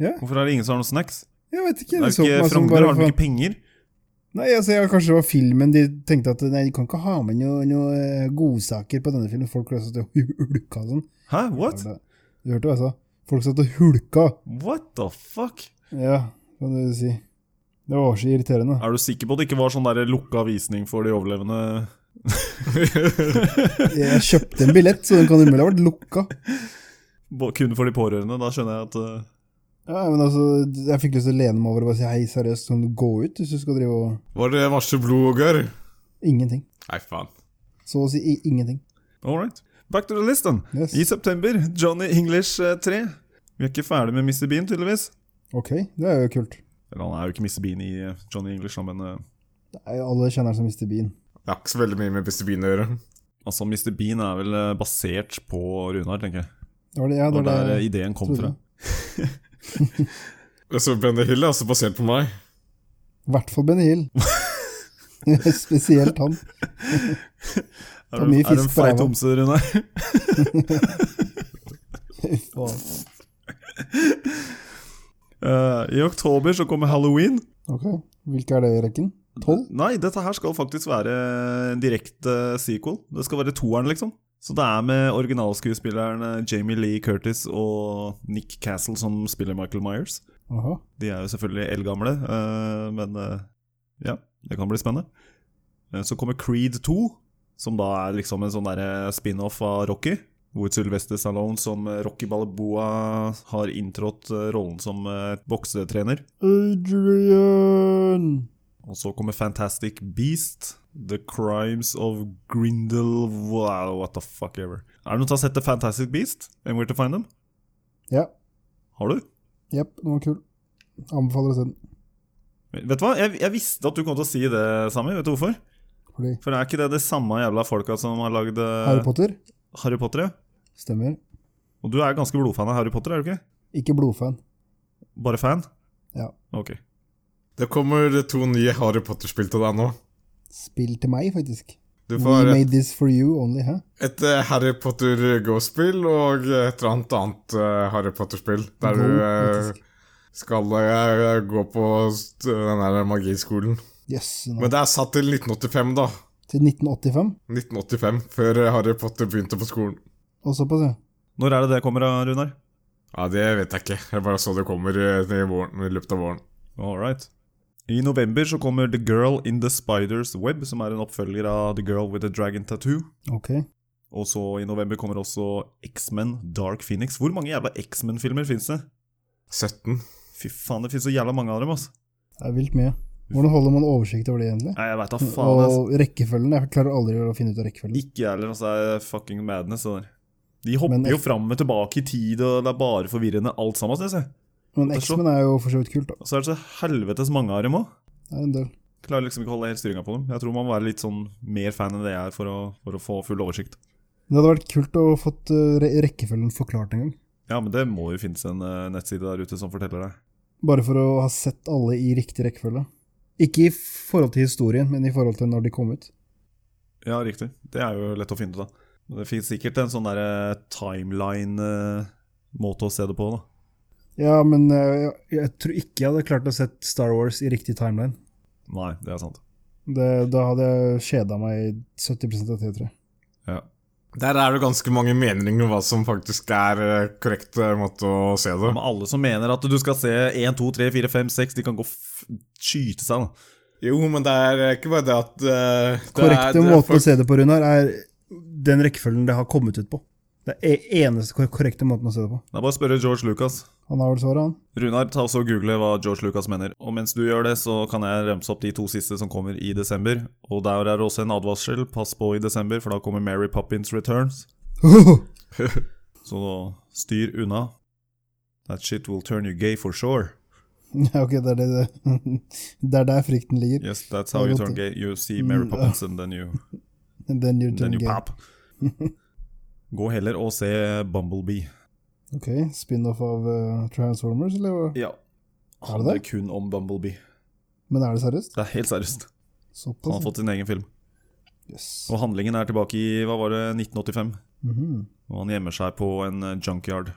B: Ja.
C: Hvorfor er det ingen som har noen snacks?
B: Jeg vet ikke.
C: Det er
B: så
C: jo
B: på meg
C: ikke
B: som
C: Frogner,
B: bare
C: har de
B: faen-
C: ikke penger?
B: Nei, altså, jeg, kanskje det var filmen de tenkte at nei, de kan ikke ha med noe, noe eh, godsaker på denne filmen. Folk satt og hulka og sånn.
C: Hæ, what?
B: Ja, det- Du hørte hva jeg sa? Folk satt og hulka.
C: What the fuck?
B: Ja, kan du si. Det var så irriterende.
C: Er du sikker på at det ikke var sånn der lukka visning for de overlevende?
B: Jeg kjøpte en billett, så den kan umulig ha vært lukka.
C: Bo- Kun for de pårørende? Da skjønner jeg at eh,
B: Ja, men altså, Jeg fikk lyst til å lene meg over og bare si hei, seriøst, sånn, gå ut hvis du skal drive og
D: Var det varsel blod og gørr?
B: Ingenting.
D: Nei, faen.
B: Så å si i- ingenting.
C: All right. Back to the list, then.
B: Yes.
C: I september, Johnny English eh, 3. Vi er ikke ferdig med Mr. Bean, tydeligvis.
B: Ok, det er jo kult.
C: Eller han er jo ikke Mr. Bean i eh, Johnny English, da, men eh,
B: Det er jo alle kjenner som mister bien.
D: Det har ikke så veldig mye med Bestebyen å gjøre.
C: altså, Mr. Bean er vel eh, basert på Runar, tenker jeg.
B: Det var det, ja,
C: Det
B: det
C: var
B: var
C: der eh,
B: det.
C: ideen kom
B: trodde
C: fra.
B: jeg.
D: Jeg så Benny Hill, altså basert på meg.
B: I hvert fall Benny Hill. Spesielt han.
C: Er du,
B: Ta mye
C: er du en
B: fisk på ræva.
C: feit homse, Runar?
B: Faen.
C: Eh, I oktober så kommer Halloween.
B: Ok, hvilke er det i rekken? Tolv?
C: Nei, dette her skal faktisk være en direkte sequel. Det skal være toeren, liksom. Så det er med originalskuespilleren eh, Jamie Lee Curtis og Nick Castle som spiller Michael Myers.
B: Aha.
C: De er jo selvfølgelig eldgamle, eh, men eh, ja, det kan bli spennende. Eh, Så kommer Creed 2, som da er liksom en sånn derre spin-off av Rocky. Hvor Sylvester Stallone som eh, Rocky Balboa har inntrådt eh, rollen som eh, boksetrener.
B: Adrian!
C: Og så kommer Fantastic Beast, The Crimes of Grindel Wow, what the fuck ever. Er det noen som har sett The Fantastic Beast? And Where to Find Them?
B: Ja.
C: Har du?
B: Jepp, den var kul. Anbefaler å se den.
C: Vet du hva, jeg, jeg visste at du kom til å si det, Sami. Vet du hvorfor?
B: Fordi
C: For er ikke det de samme jævla folka som har lagd eh,
B: Harry Potter
C: Harry Potter? ja?
B: stemmer.
C: Og du er ganske blodfan av Harry Potter, er du ikke?
B: Ikke blodfan.
C: Bare fan?
B: Ja.
C: Ok.
D: Det kommer to nye Harry Potter-spill til deg nå.
B: Spill til meg, faktisk.
D: Du
B: We
D: får et,
B: made this for you only, hæ?
D: et eh, Harry Potter Go-spill og et eller annet annet eh, Harry Potter-spill. Der
B: Go,
D: du eh,
B: faktisk.
D: skal eh, gå på st- den der magiskolen.
B: Jøss. nå.
D: Men det er satt til 1985, da.
B: Til 1985?
D: 1985, før eh, Harry Potter begynte på skolen.
B: Og såpass, ja.
C: Når er det det kommer, da, Runar?
D: Ja, Det vet jeg ikke. Jeg bare så det kommer eh, i, våren, i løpet av våren.
C: All right. I november så kommer The Girl in the Spider's Web, som er en oppfølger av The Girl with the Dragon Tattoo.
B: Ok.
C: Og så i november kommer også X-Men Dark Phoenix. Hvor mange jævla X-Men-filmer fins det?
D: 17.
C: Fy faen, det fins så jævla mange av dem, altså.
B: Det er vilt mye. Hvordan holder man oversikt over det, egentlig?
C: Nei, jeg veit da faen. Altså.
B: Og rekkefølgen? Jeg klarer aldri å finne ut av rekkefølgen.
C: Ikke jeg heller, altså. Det er fucking madness, det der. De
B: Men-
C: hopper jo fram og tilbake i tid, og det er bare forvirrende alt sammen, syns jeg.
B: Men
C: det er så-
B: X-Men er jo for så vidt kult, da.
C: Og så er det så helvetes mange av dem òg.
B: Det er en del.
C: Klarer liksom ikke å holde helt styringa på dem. Jeg tror man må være litt sånn mer fan enn det jeg er for å, for å få full oversikt.
B: Det hadde vært kult å fått eh, re rekkefølgen forklart en gang.
C: Ja, men det må jo finnes en eh, nettside der ute som forteller det.
B: Bare for å ha sett alle i riktig rekkefølge. Ikke i forhold til historien, men i forhold til når de kom ut.
C: Ja, riktig. Det er jo lett å finne ut av. Men Det finnes sikkert en sånn derre timeline-måte å se det på, da.
B: Ja, men eh, jeg, jeg tror ikke jeg hadde klart å sett Star Wars i riktig timeline.
C: Nei, det er sant.
B: Det, da hadde jeg kjeda meg i 70 av tida, tror jeg.
C: Ja.
D: Der er det ganske mange meninger om hva som faktisk er eh, korrekt eh, måte å se det.
C: Men alle som mener at du skal se 1, 2, 3, 4, 5, 6, de kan gå f skyte seg, da.
D: Jo, men det er ikke bare det at eh, det er,
B: Korrekte
D: det er
B: måten
D: folk-
B: å se det på, Runar, er den rekkefølgen det har kommet ut på. Det er e- eneste kor- korrekte måten å se det på.
C: Det er bare å spørre George Lucas.
B: Han har vel svaret, han.
C: Runar, ta også og google hva George Lucas mener. Og mens du gjør det, så kan jeg remse opp de to siste som kommer i desember. Og der er det også en advarsel. Pass på i desember, for da kommer Mary Poppins Returns. Så styr unna. That shit will turn you gay for sure.
B: Ja, ok, det er, det, det. det er der frykten ligger.
C: Yes, that's how you turn gay. You see
B: Mm,
C: Mary Poppins and then you,
B: Den gjør
C: then
B: den
C: you
B: gay.
C: pop. Gå heller og se Bumblebee.
B: Ok, spin-off av eh, Transformers, eller hva?
C: Ja.
B: Er det
C: Handler
B: det?
C: kun om Bumblebee.
B: Men er det seriøst?
C: Det er helt seriøst. Han har
B: Såpass?
C: fått sin egen film.
B: Yes.
C: Og handlingen er tilbake i hva var det, 1985.
B: Mhm,
C: Og han gjemmer seg på en eh, junkyard.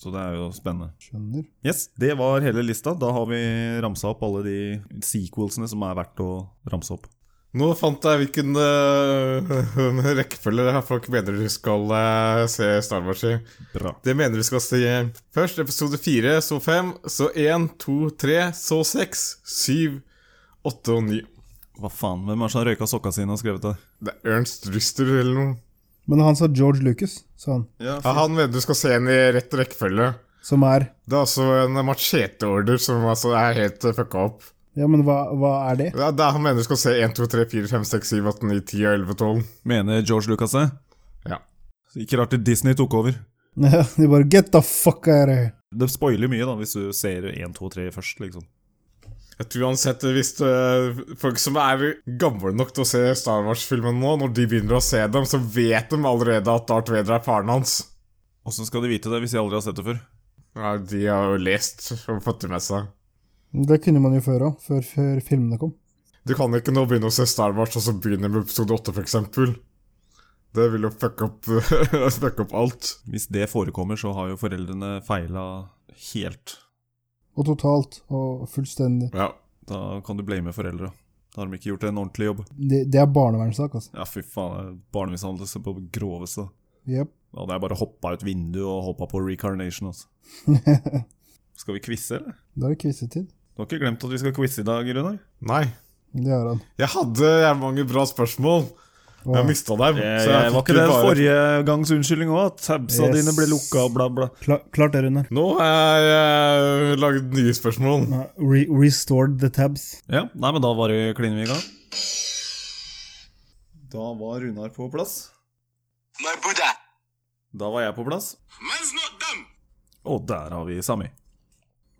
C: Så det er jo spennende.
B: skjønner.
C: Yes, det var hele lista. Da har vi ramsa opp alle de sequelsene som er verdt å ramse opp.
D: Nå fant jeg hvilken eh, rekkefølge det er folk mener du skal eh, se Star Wars i.
C: Bra.
D: Det mener du skal se først episode 4, så 5, så 1, 2, 3, så 6, 7, 8 og 9.
C: Hva faen, hvem er det som har røyka sokka sine og skrevet det?
D: Det er Ernst Ruster eller noe.
B: Men han sa George Lucas, sa han.
D: Ja, han mener du skal se den i rett rekkefølge.
B: Som er
D: Det er altså en macheteorder som altså er helt eh, fucka opp.
B: Ja, men hva, hva er det?
D: Ja, det er, han mener du skal se 1, 2, 3, 4, 5, 6, 7, 8, 9, 10 og 11, 12.
C: Mener George Lucas det?
D: Ja.
C: Ikke rart det Disney tok over.
B: Ja, De bare Get the fuck out of here!
C: Det spoiler mye da, hvis du ser 1, 2, 3 først, liksom.
D: Jeg tror uansett hvis øh, folk som er gamle nok til å se Star Wars-filmen nå, når de begynner å se dem, så vet de allerede at Darth Vader er faren hans.
C: Åssen skal de vite det hvis de aldri har sett det før?
D: Ja, de har jo lest og fått det med seg.
B: Det kunne man jo før òg, før, før filmene kom.
D: Du kan ikke nå begynne å se Star Wars og så begynne med episode 8, for eksempel. Det vil jo fucke opp, fucke opp alt.
C: Hvis det forekommer, så har jo foreldrene feila helt.
B: Og totalt, og fullstendig.
D: Ja.
C: Da kan du blame foreldra. Da har de ikke gjort en ordentlig jobb.
B: Det, det er barnevernssak, altså.
C: Ja, fy faen. Barnemishandlelse på det groveste.
B: Jepp.
C: Da hadde jeg bare hoppa ut vinduet og hoppa på recarnation, altså.
B: da
C: Skal vi quize, eller?
B: er det quizetid.
C: Du har ikke glemt at vi skal quize i dag, Runar?
D: Nei.
B: Det har han.
D: Jeg hadde jævlig mange bra spørsmål.
B: Åh,
D: Jeg mista dem. så jeg
C: Eh, var
D: fikk
C: ikke
D: jo
C: det
D: bare-
C: forrige gangs unnskyldning òg? At tabsa
B: Yes.
C: dine ble lukka og bla, bla.
B: kla- klart det, Runar.
D: Nå har jeg øh, lagd nye spørsmål.
B: Ja, Re restored the tabs.
C: Ja, nei, men da var det klin vi i gang. Da var Runar på plass.
E: My Buddha.
C: Da var jeg på plass.
E: Man's not dumb.
C: Og der har vi Sami.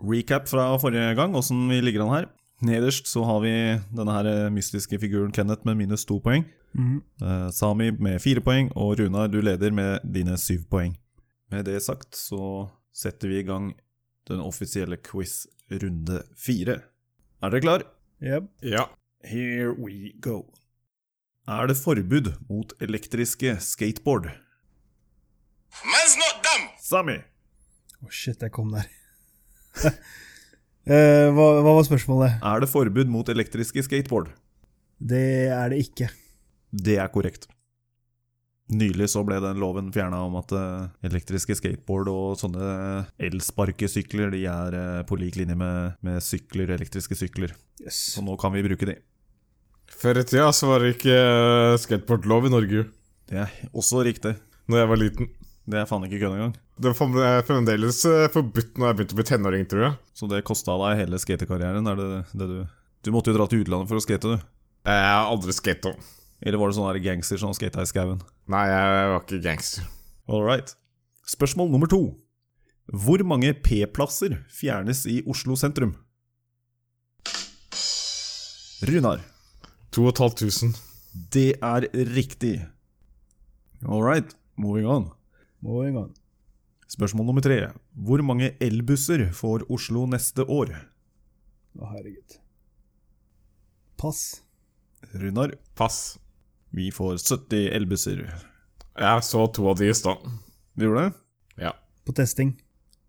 C: Recap fra forrige gang, åssen vi ligger an her. Nederst så har vi denne her eh, mystiske figuren Kenneth med minus to poeng.
B: Mhm.
C: Eh, Sami med fire poeng, og Runar, du leder med dine syv poeng. Med det sagt så setter vi i gang den offisielle quiz runde fire. Er dere klar?
B: Jep.
D: Ja.
C: Here we go. Er det forbud mot elektriske skateboard?
E: Man's not dumb.
C: Sami!
B: Å, Oh, shit, jeg kom der. Eh, hva, hva var spørsmålet?
C: Er det forbud mot elektriske skateboard?
B: Det er det ikke.
C: Det er korrekt. Nylig så ble den loven fjerna om at eh, elektriske skateboard og sånne eh, elsparkesykler de er eh, på lik linje med, med sykler, elektriske sykler.
B: Yes.
C: Så nå kan vi bruke de.
D: Før i tida så var det ikke eh, skateboardlov i Norge,
C: Det er også riktig.
D: når jeg var liten.
C: Det er faen ikke kødd engang.
D: Det var fam- eh, fremdeles eh, forbudt når jeg begynte å bli tenåring, tror jeg.
C: Så det kosta deg hele skatekarrieren, er det det du Du måtte jo dra til utlandet for å skate, du.
D: Eh, Jeg har aldri skata.
C: Eller var det sånn der gangster som skata i skauen?
D: Nei, jeg var ikke gangster.
C: All right. Spørsmål nummer to. Hvor mange P-plasser fjernes i Oslo sentrum? Runar.
D: 2500.
C: Det er riktig. All right, moving on.
B: Moving on.
C: Spørsmål nummer tre. Hvor mange elbusser får Oslo neste år?
B: Å, herregud. Pass.
C: Runar,
D: Pass.
C: vi får 70 elbusser.
D: Jeg så to av de i stad.
C: Vi gjorde det?
D: Ja.
B: På testing.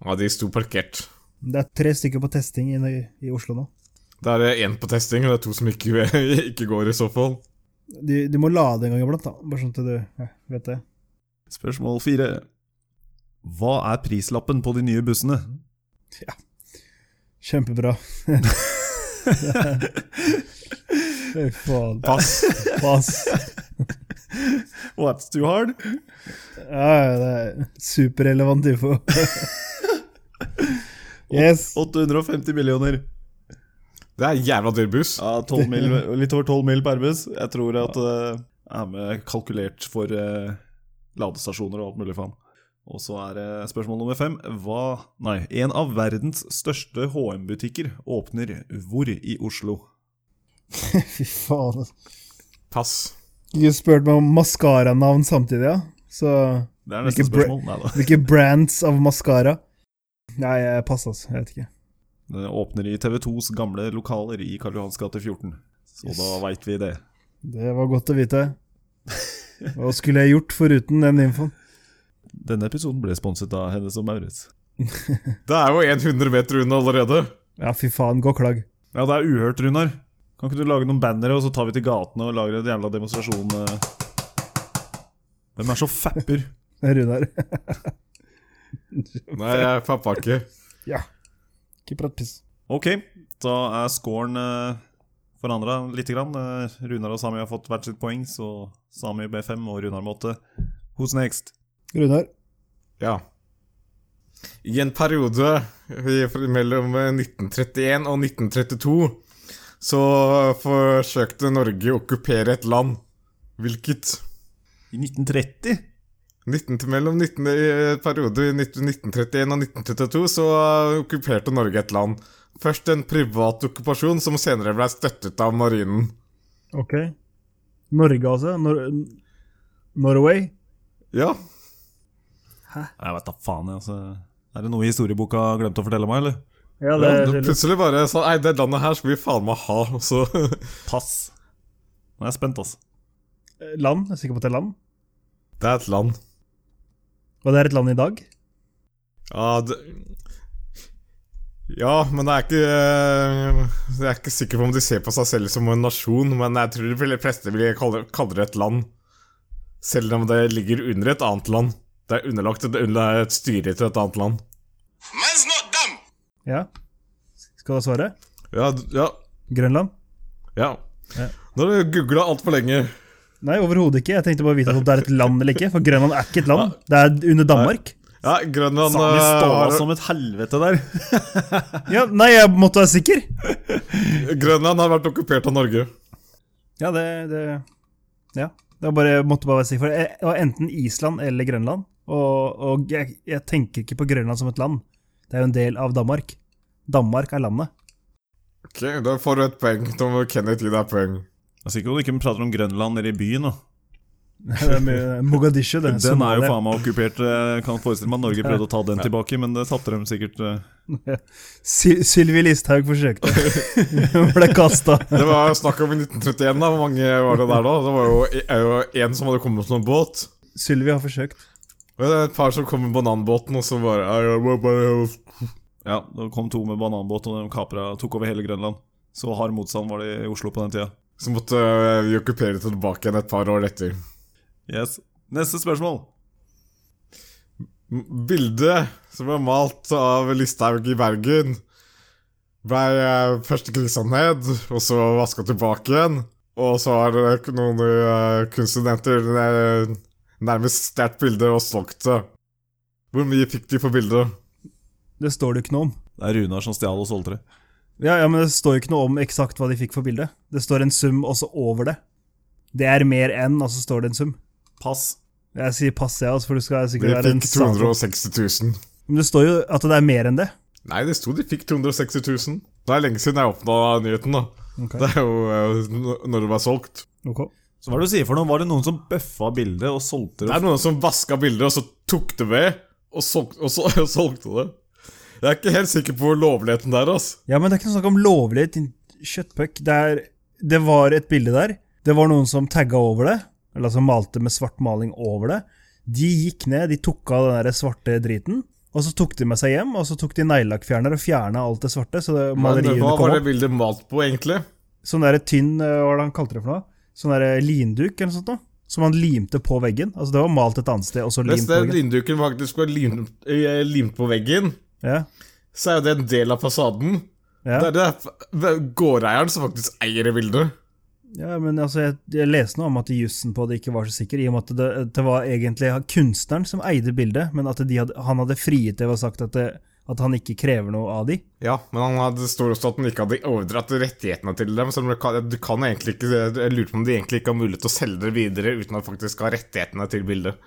D: ja, de sto parkert.
B: Det er tre stykker på testing i, i Oslo nå.
D: Det er eh, én på testing, og det er to som ikke, ikke går, i så fall.
B: Du, du må lade en gang iblant, da. Bare sånn at du ja, vet det.
C: Spørsmål fire. Hva er prislappen på de nye bussene?
B: Kjempebra. Fy faen.
D: Pass.
B: Pass.
C: What's too hard?
B: Ja, ja, det er superrelevant info. Yes.
C: 850 millioner.
D: Det er jævla dyr buss.
C: Ja, 12 mil, litt over 12 mil per buss. Jeg tror at det er med kalkulert for eh, ladestasjoner og alt mulig faen. Og så er det spørsmål nummer fem. Hva Nei, en av verdens største HM-butikker åpner hvor i Oslo?
B: Fy faen. altså.
D: Pass.
B: Du spurte meg om maskaranavn samtidig, ja. Så
C: Det er neste
B: Hvilke bra-
C: spørsmål. Nei da.
B: hvilke brands av maskara? Nei, jeg- pass, altså. Jeg vet ikke.
C: Den åpner i TV2s gamle lokaler i Karl Johans gate 14. Så
B: Yes.
C: da veit vi det.
B: Det var godt å vite. Hva skulle jeg gjort foruten den infoen?
C: Denne episoden ble sponset av Hennes og Maurits.
D: Det er jo 100 meter unna allerede.
B: Ja, fy faen, gå og klag.
C: Ja, det er uhørt, Runar. Kan ikke du lage noen bannere, og så tar vi til gatene og lager en jævla demonstrasjon? eh? Hvem er så fapper?
B: Runar.
D: Nei, jeg pappa ikke.
B: Ja. Ikke prat piss.
C: Ok, da er scoren uh, forandra lite grann. Eh, Runar og Sami har fått hvert sitt poeng, så Sami B5 og Runar med 8. Who's next?
B: Runar.
D: Ja. I en periode i- fra- mellom 1931 og 1932 så forsøkte Norge å okkupere et land. Hvilket?
C: I 1930?
D: 19, til- mellom 19, i periode i 19 1931 og 1932 så eh, okkuperte Norge et land. Først en privat okkupasjon som senere ble støttet av marinen.
B: Ok. Norge, altså? Nor Norway?
D: Ja,
C: Jeg veit da faen, jeg. Altså. Er det noe historieboka glemte å fortelle meg, eller?
B: Ja,
D: ja det plutselig bare sa Nei, det landet her skal vi faen meg ha. Og så
C: Pass. Nå er jeg spent, altså.
B: Land? Jeg er sikker på at det er land.
D: Det er et land.
B: Og det er et land i dag?
D: Ja, det ja, men jeg er, ikke, eh, jeg er ikke sikker på om de ser på seg selv som en nasjon, men jeg tror de vil- fleste vil kalle, kalle det et land. Selv om det ligger under et annet land. Det er underlagt et, under et styre til et annet land.
E: Man's not dumb.
B: Ja. Skal du ha svaret?
D: Ja, d- ja,
B: Grønland?
D: ja.
B: Ja.
D: Nå har du googla altfor lenge.
B: Nei, overhodet ikke. Jeg tenkte bare vite om det er et land eller ikke. For Grønland er ikke et land. Det er under Danmark.
D: Ja, Grønland
C: Sami
D: eh,
C: ståla
D: har-
C: som et helvete der.
B: Ja, Nei, jeg måtte være sikker.
D: Grønland har vært okkupert av Norge.
B: Ja, det, det Ja. Det var bare, jeg måtte bare være sikker. For det var enten Island eller Grønland. Og, og jeg, jeg tenker ikke på Grønland som et land. Det er jo en del av Danmark. Danmark er landet.
D: Ok, da får du et poeng. Da må Kenneth gi deg poeng.
C: Jeg er sikker på at du ikke prater om Grønland nede i byen. Da.
B: Det er mye- Mogadishu, det.
C: Den er jo faen meg okkupert. eh, Jeg kan forestille meg at Norge prøvde å ta den tilbake, men det tapte de sikkert. eh.
B: Sy- Sylvi Listhaug forsøkte. Hun ble kasta.
D: Det var jo snakk om i 1931, da. Hvor mange var det der da? Det var jo er jo en som hadde kommet med en båt.
B: Sylvi har forsøkt.
D: Og det er et par som kom med bananbåten, og så bare «I am a banana».
C: Ja, Det kom to med bananbåt, og de kapra tok over hele Grønland. Så hard motstand var det i Oslo på den tida.
D: Så måtte øh, vi okkupere det tilbake igjen et par år etter.
C: Yes. Neste spørsmål.
D: M- Bildet som ble malt av Listhaug i Bergen, ble øh, først grisa ned, og så vaska tilbake igjen. Og så har øh, k- noen øh, kunststudenter øh, nærmest stjålet bildet og solgt det. Hvor mye fikk de for bildet?
B: Det står det jo ikke noe om.
C: Det er Runar som stjal og solgte det.
B: Ja, ja, men Det står jo ikke noe om eksakt hva de fikk for bildet. Det står en sum også over det. Det er mer enn, og så står det en sum.
C: Pass.
B: Jeg sier pass, jeg, altså, for det skal
D: De
B: sikkert være en
D: fikk
B: sak-
D: 260 000.
B: Men det står jo at det er mer enn det.
D: Nei, det sto de fikk 260 000. Det er lenge siden jeg åpna nyheten, da. Det er jo øh, n- når det var solgt.
B: Ok.
C: Så hva er det du sier for noe? Var det noen som bøffa bildet og solgte
D: Det
C: det?
D: er noen som vaska bildet, og så tok det ved, og, solg, og, så, og solgte det. Jeg er ikke helt sikker på lovligheten der, altså.
B: Ja, men det er ikke noe snakk om lovlighet, din kjøttpuck. Det, er, det var et bilde der. Det var noen som tagga over det, eller som malte med svart maling over det. De gikk ned, de tok av den der svarte driten, og så tok de med seg hjem, og så tok de neglelakkfjerner og fjerna alt det svarte, så det,
D: Men eh, hva
B: maleriene kom
D: var det
B: opp.
D: bildet malt på, egentlig?
B: Sånn der tynn, øh, hva er det han kalte det for noe? Sånn der linduk eller noe sånt noe. Som han limte på veggen. Altså, det var malt et annet sted, og så
D: Hvis
B: limt på
D: den
B: veggen.
D: linduken faktisk var limt, eh, limt på veggen,
B: Ja,
D: så er jo det en del av fasaden.
B: ja.
D: Det er det f- gårdeieren som faktisk eier det bildet.
B: Ja, men altså, jeg, jeg leste noe om at jussen på det ikke var så sikker, i og med at det, det var egentlig kunstneren som eide bildet, men at de hadde, han hadde frigitt det ved å ha sagt at, det, at han ikke krever noe av de.
D: Ja, men han hadde, det står også at han ikke hadde overdratt rettighetene til dem. Så du kan, du kan egentlig ikke Jeg lurer på om de egentlig ikke har mulighet til å selge det videre uten å faktisk ha rettighetene til bildet.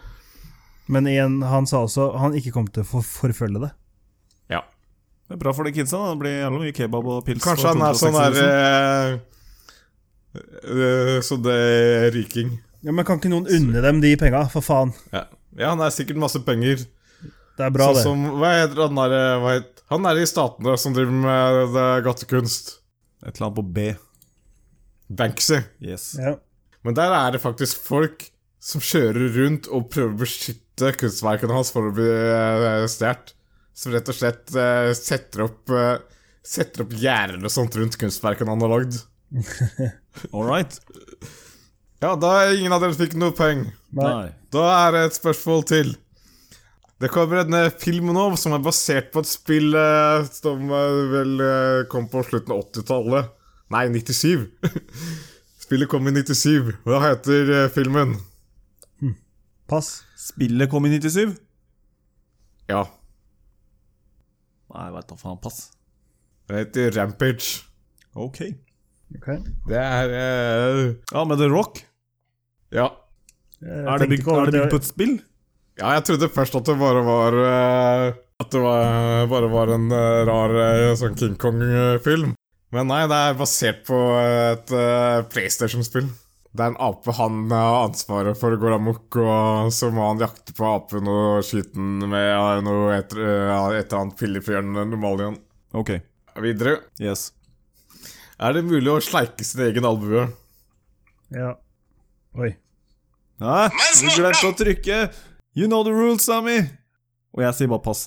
B: Men igjen, han sa også han ikke kom til å for, forfølge det.
D: Ja.
C: Det er bra for de kidsa. da. Det blir jævla mye kebab og pils.
D: Kanskje
C: for
D: han er sånn
C: 260
D: der
C: 000.
D: eh, eh, Så det er riking.
B: Ja, Men kan ikke noen unne dem de penga, for faen?
D: Ja. ja, han er sikkert masse penger.
B: Det er bra,
D: sånn
B: det.
D: som Hva heter han der eh, hva het- Han er i Statene som driver med eh, gatekunst.
C: Et eller annet på B.
D: Banksy.
C: Yes.
B: Ja.
D: Men der er det faktisk folk som kjører rundt og prøver å beskytte kunstverkene hans for å bli uh, stjålet. Som rett og slett eh, setter opp eh, Setter opp gjerder og sånt rundt kunstverkene han har lagd.
C: All right.
D: Ja, da er ingen av dere fikk noe poeng.
C: Nei.
D: Da er det et spørsmål til. Det kommer en eh, film nå som er basert på et spill eh, som eh, vel eh, kom på slutten av 80-tallet. Nei, 97. Spillet kom i 97. Hva heter eh, filmen?
B: Pass.
C: Spillet kom i 97?
D: Ja,
C: Nei, veit da faen. Pass.
D: den heter Rampage.
C: Ok.
D: Det er eh,
C: Ja, men The Rock?
D: Ja.
C: Er det bygd er det bygd på et spill?
D: Ja, jeg trodde først at det bare var eh, At det var, bare var en eh, rar eh, sånn King Kong-film. Men nei, det er basert på et eh, PlayStation-spill. Det er en ape han har ansvaret for går amok, og så må han jakte på apen og skyte den med eh, noe et, eh, et eller annet pillefjørn normalien.
C: Ok.
D: Videre.
C: Yes.
D: Er det mulig å sleike sin egen albue?
B: Ja. Oi.
C: Nei,
A: Man's
C: du
A: not
C: glemte å trykke! You know the rules, Sammy! Og jeg sier bare pass.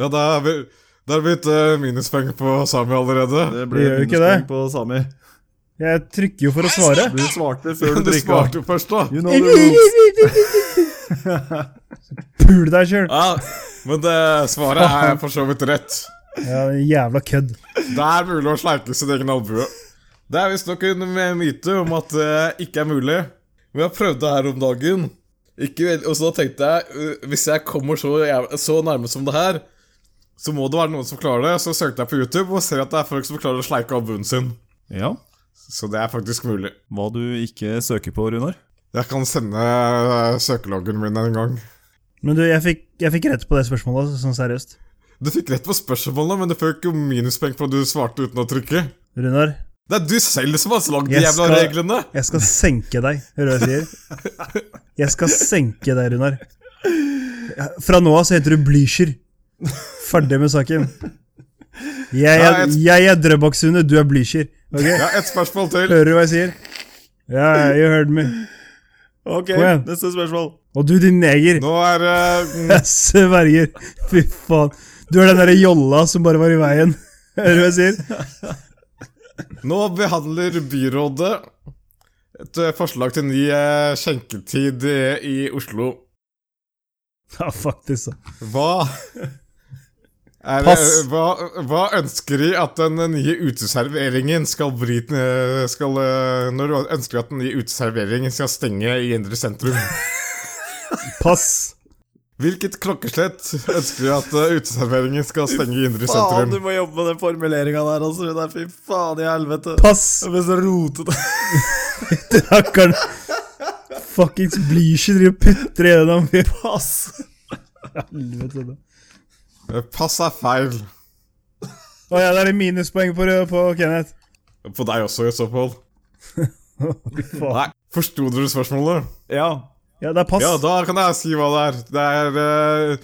D: Ja, da er vi da er det blitt eh, minuspoeng på Sami allerede.
C: Det
B: Det
C: ble
B: gjør jo ikke
C: minuspoeng
B: det.
C: på Sami.
B: Jeg trykker jo for å svare.
C: Du svarte før du
D: Du
C: trykka.
D: svarte først, da.
C: You know the rules.
B: Pul deg sjøl!
D: Ja, men det svaret er for så vidt rett.
B: Ja, jævla kødd.
D: Det er mulig å sleike sin egen albue. Det er visstnok en me- myte om at det ikke er mulig. Men jeg prøvde det her om dagen, ikke vel, og så da tenkte jeg uh, hvis jeg kommer så, jæv- så nærme som det her, så må det være noen som klarer det. Så søkte jeg på YouTube og ser at det er folk som klarer å sleike albuen sin.
C: Ja.
D: Så det er faktisk mulig.
C: Hva du ikke søker på, Runar?
D: Jeg kan sende uh, søkeloggen min en gang.
B: Men du, jeg fikk, jeg fikk rett på det spørsmålet, altså, sånn seriøst.
D: Du fikk rett på spørsmålene, men du fikk jo minuspoeng på at du svarte uten å trykke.
B: Runar,
D: Det er du selv som har lagd de
B: Jeg
D: jævla
B: skal-
D: reglene!
B: jeg skal senke deg, hører du hva jeg sier? Jeg skal senke deg, Runar. Fra nå av så heter du Blücher. Ferdig med saken. Jeg
D: Ja,
B: er,
D: jeg-
B: jeg er Drøbaksundet, du er Blücher. Ok?
D: Ja, et spørsmål til.
B: Hører du hva jeg sier? Ja, ja, you heard me.
C: Ok,
B: Kom igjen.
C: neste spørsmål.
B: Og du, din neger.
D: Nå er eh, det
B: Jeg sverger. Fy faen. Du er den derre jolla som bare var i veien. Hører du hva jeg sier?
D: Nå behandler byrådet et eh, forslag til ny eh, skjenketid i- i Oslo.
B: Ja, faktisk. så.
D: Hva er, eh,
B: Pass.
D: Hva, hva ønsker de at den nye uteserveringen skal bryte skal, eh, Når du ønsker at den nye uteserveringen skal stenge i indre sentrum?
B: Pass.
D: Hvilket klokkeslett ønsker du at eh, uteserveringen skal stenge i
C: Faen,
D: indre
C: du
D: sentrum?
C: må jobbe med den formuleringa der, altså. Det er fy faen i helvete.
B: Pass.
C: Det blir så rotete.
B: Rakkeren. Fuckings Blücher driver og putter gjennom. Fy
C: Pass.
B: helvete. da.
D: Eh, Pass er feil.
B: Å ja, det er minuspoeng på, på Kenneth.
D: På deg også, i så fall.
B: Fy faen.
D: Nei, Forsto dere spørsmålet?
C: Ja.
B: Ja, det er pass.
D: Ja, da kan jeg si hva det er. Det er eh,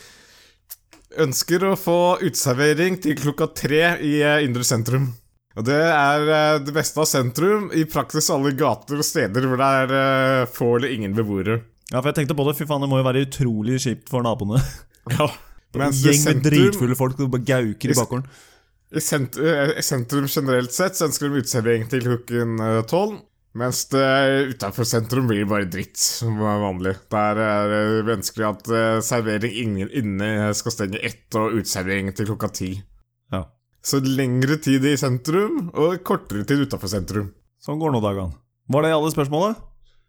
D: Ønsker å få uteservering til klokka tre i eh, indre sentrum. Og det er eh, det beste av sentrum i praksis alle gater og steder hvor det er eh, få eller ingen beboere.
C: Ja, for jeg tenkte på det. Fy faen, det må jo være utrolig kjipt for naboene.
D: Ja. Mens i
C: Gjeng med
D: sentrum,
C: dritfulle folk som bare gauker i bakgården.
D: i, sent, eh, i sentrum generelt sett så ønsker de uteservering til klokken eh, tolv. Mens det utafor sentrum blir bare dritt, som er vanlig. Der er det ønskelig at eh, servering ingen, inne skal stenge ett, og uteservering til klokka ti.
C: Ja.
D: Så lengre tid i sentrum, og kortere tid utafor sentrum.
C: Sånn går nå dagene. Var det alle spørsmåla?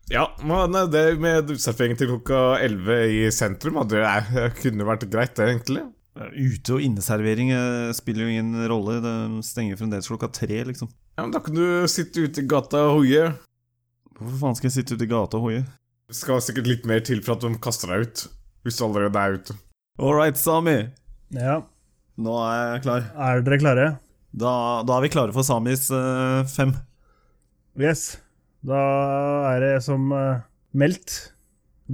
D: Ja, men eh, det med uteservering til klokka elleve i sentrum, ja, det er, kunne vært greit, det, egentlig.
C: Ute- og inneservering eh, spiller jo ingen rolle. Det stenger fremdeles klokka tre, liksom.
D: Ja, men Da kan du sitte ute i gata og hoie.
C: Hvorfor faen skal jeg sitte ute i gata og hoie?
D: Det skal sikkert litt mer til for at de kaster deg ut. Hvis du allerede er ute.
C: All right, Sami.
B: Ja,
C: Nå er jeg klar.
B: Er dere klare?
C: Da, da er vi klare for Samis eh, fem.
B: Yes. Da er det som eh, meldt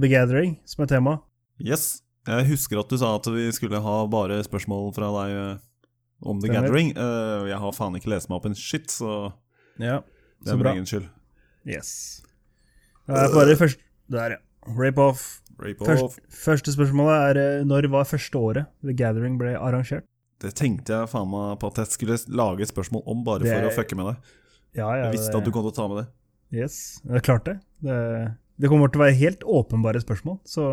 B: The Gathering som er tema.
C: Yes. Jeg husker at du sa at vi skulle ha bare spørsmål fra deg eh, om The
B: Stemmer.
C: Gathering. Eh, jeg har faen ikke lest meg opp en shit, så
B: Ja,
C: det er min egen skyld.
B: Yes. Det er bare først... Der, ja. Rape off.
C: Rape Øh. off.
B: Først, første spørsmålet er eh, når var første året The Gathering ble arrangert?
C: Det tenkte jeg faen meg på at jeg skulle lage et spørsmål om bare
B: Det
C: for å
B: er-
C: fucke med deg.
B: Ja, ja,
C: Jeg visste
B: det-
C: at du kom til å ta med det.
B: Yes, det er klart det. Det, det kommer til å være helt åpenbare spørsmål, så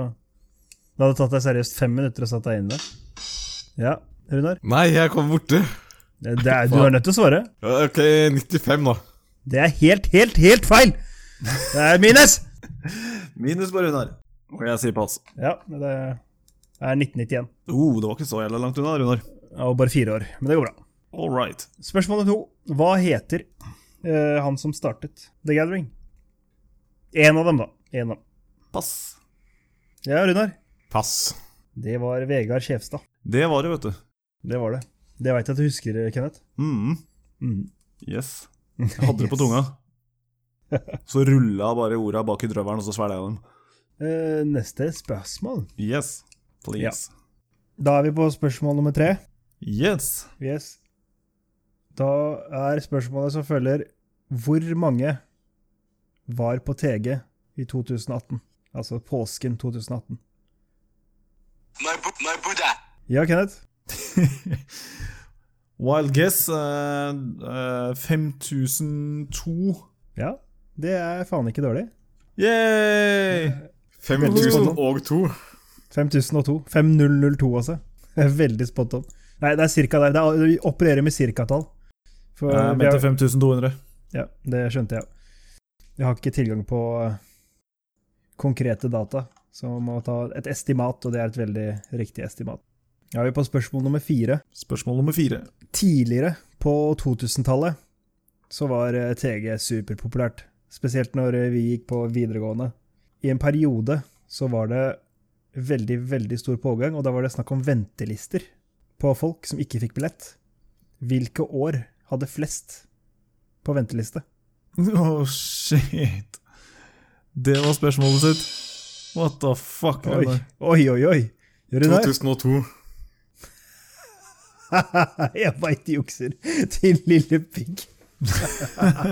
B: det hadde tatt deg seriøst fem minutter å satt deg inn i det. Ja, Runar.
D: Nei, jeg kom borti.
B: Det, det er, du er nødt til å svare.
D: Ja, Ok, 95, da.
B: Det er helt, helt, helt feil! Det er minus!
C: Minus på Runar. Og jeg sier pass.
B: Ja, det er 1991.
C: Oh, det var ikke så jævla langt unna, Runar.
B: Og bare fire år, men det går bra.
C: All right.
B: Spørsmål to. Hva heter eh, han som startet The Gathering? En av dem, da. En av dem.
C: Pass.
B: Ja, Runar.
D: Pass.
B: Det var Vegard Skjevstad.
C: Det var det, vet du.
B: Det var det. Det veit jeg at du husker, Kenneth.
C: Mm.
B: Mm.
C: Yes. Jeg hadde det på
B: Yes.
C: tunga. Så rulla bare orda bak i drøvelen, og så svelga jeg dem.
B: Eh, neste spørsmål.
C: Yes. Please.
B: Da er vi på spørsmål nummer tre.
C: Yes.
B: Yes. Da er spørsmålet som følger Hvor mange var på TG i 2018? Altså påsken 2018.
A: My, bu- my Buddha.
B: Ja, Kenneth?
C: Wild guess eh, eh, 5002.
B: Ja, det er faen ikke dårlig.
C: Yay!
D: 5002.
B: 5002. 5002, altså. Det er Veldig spot on. Nei, det er cirka der. Det er, vi opererer med cirkatall. For
C: Jeg
B: vi har-
C: mente 5200.
B: Ja, det skjønte jeg. Jeg har ikke tilgang på eh, konkrete data, så man må ta et estimat, og det er et veldig riktig estimat. Da er vi på spørsmål nummer fire.
C: Spørsmål nummer fire.
B: Tidligere, på 2000-tallet, så var eh, TG superpopulært. Spesielt når eh, vi gikk på videregående. I en periode så var det veldig, veldig stor pågang, og da var det snakk om ventelister på folk som ikke fikk billett. Hvilke år hadde flest på venteliste?
C: Åh, Oh, shit. Det var spørsmålet sitt. What the fuck?
B: Oi,
C: Rune?
B: oi, oi. oi. Gjør du det?
D: 2002.
B: Jeg veit de jukser til Lille Pigg.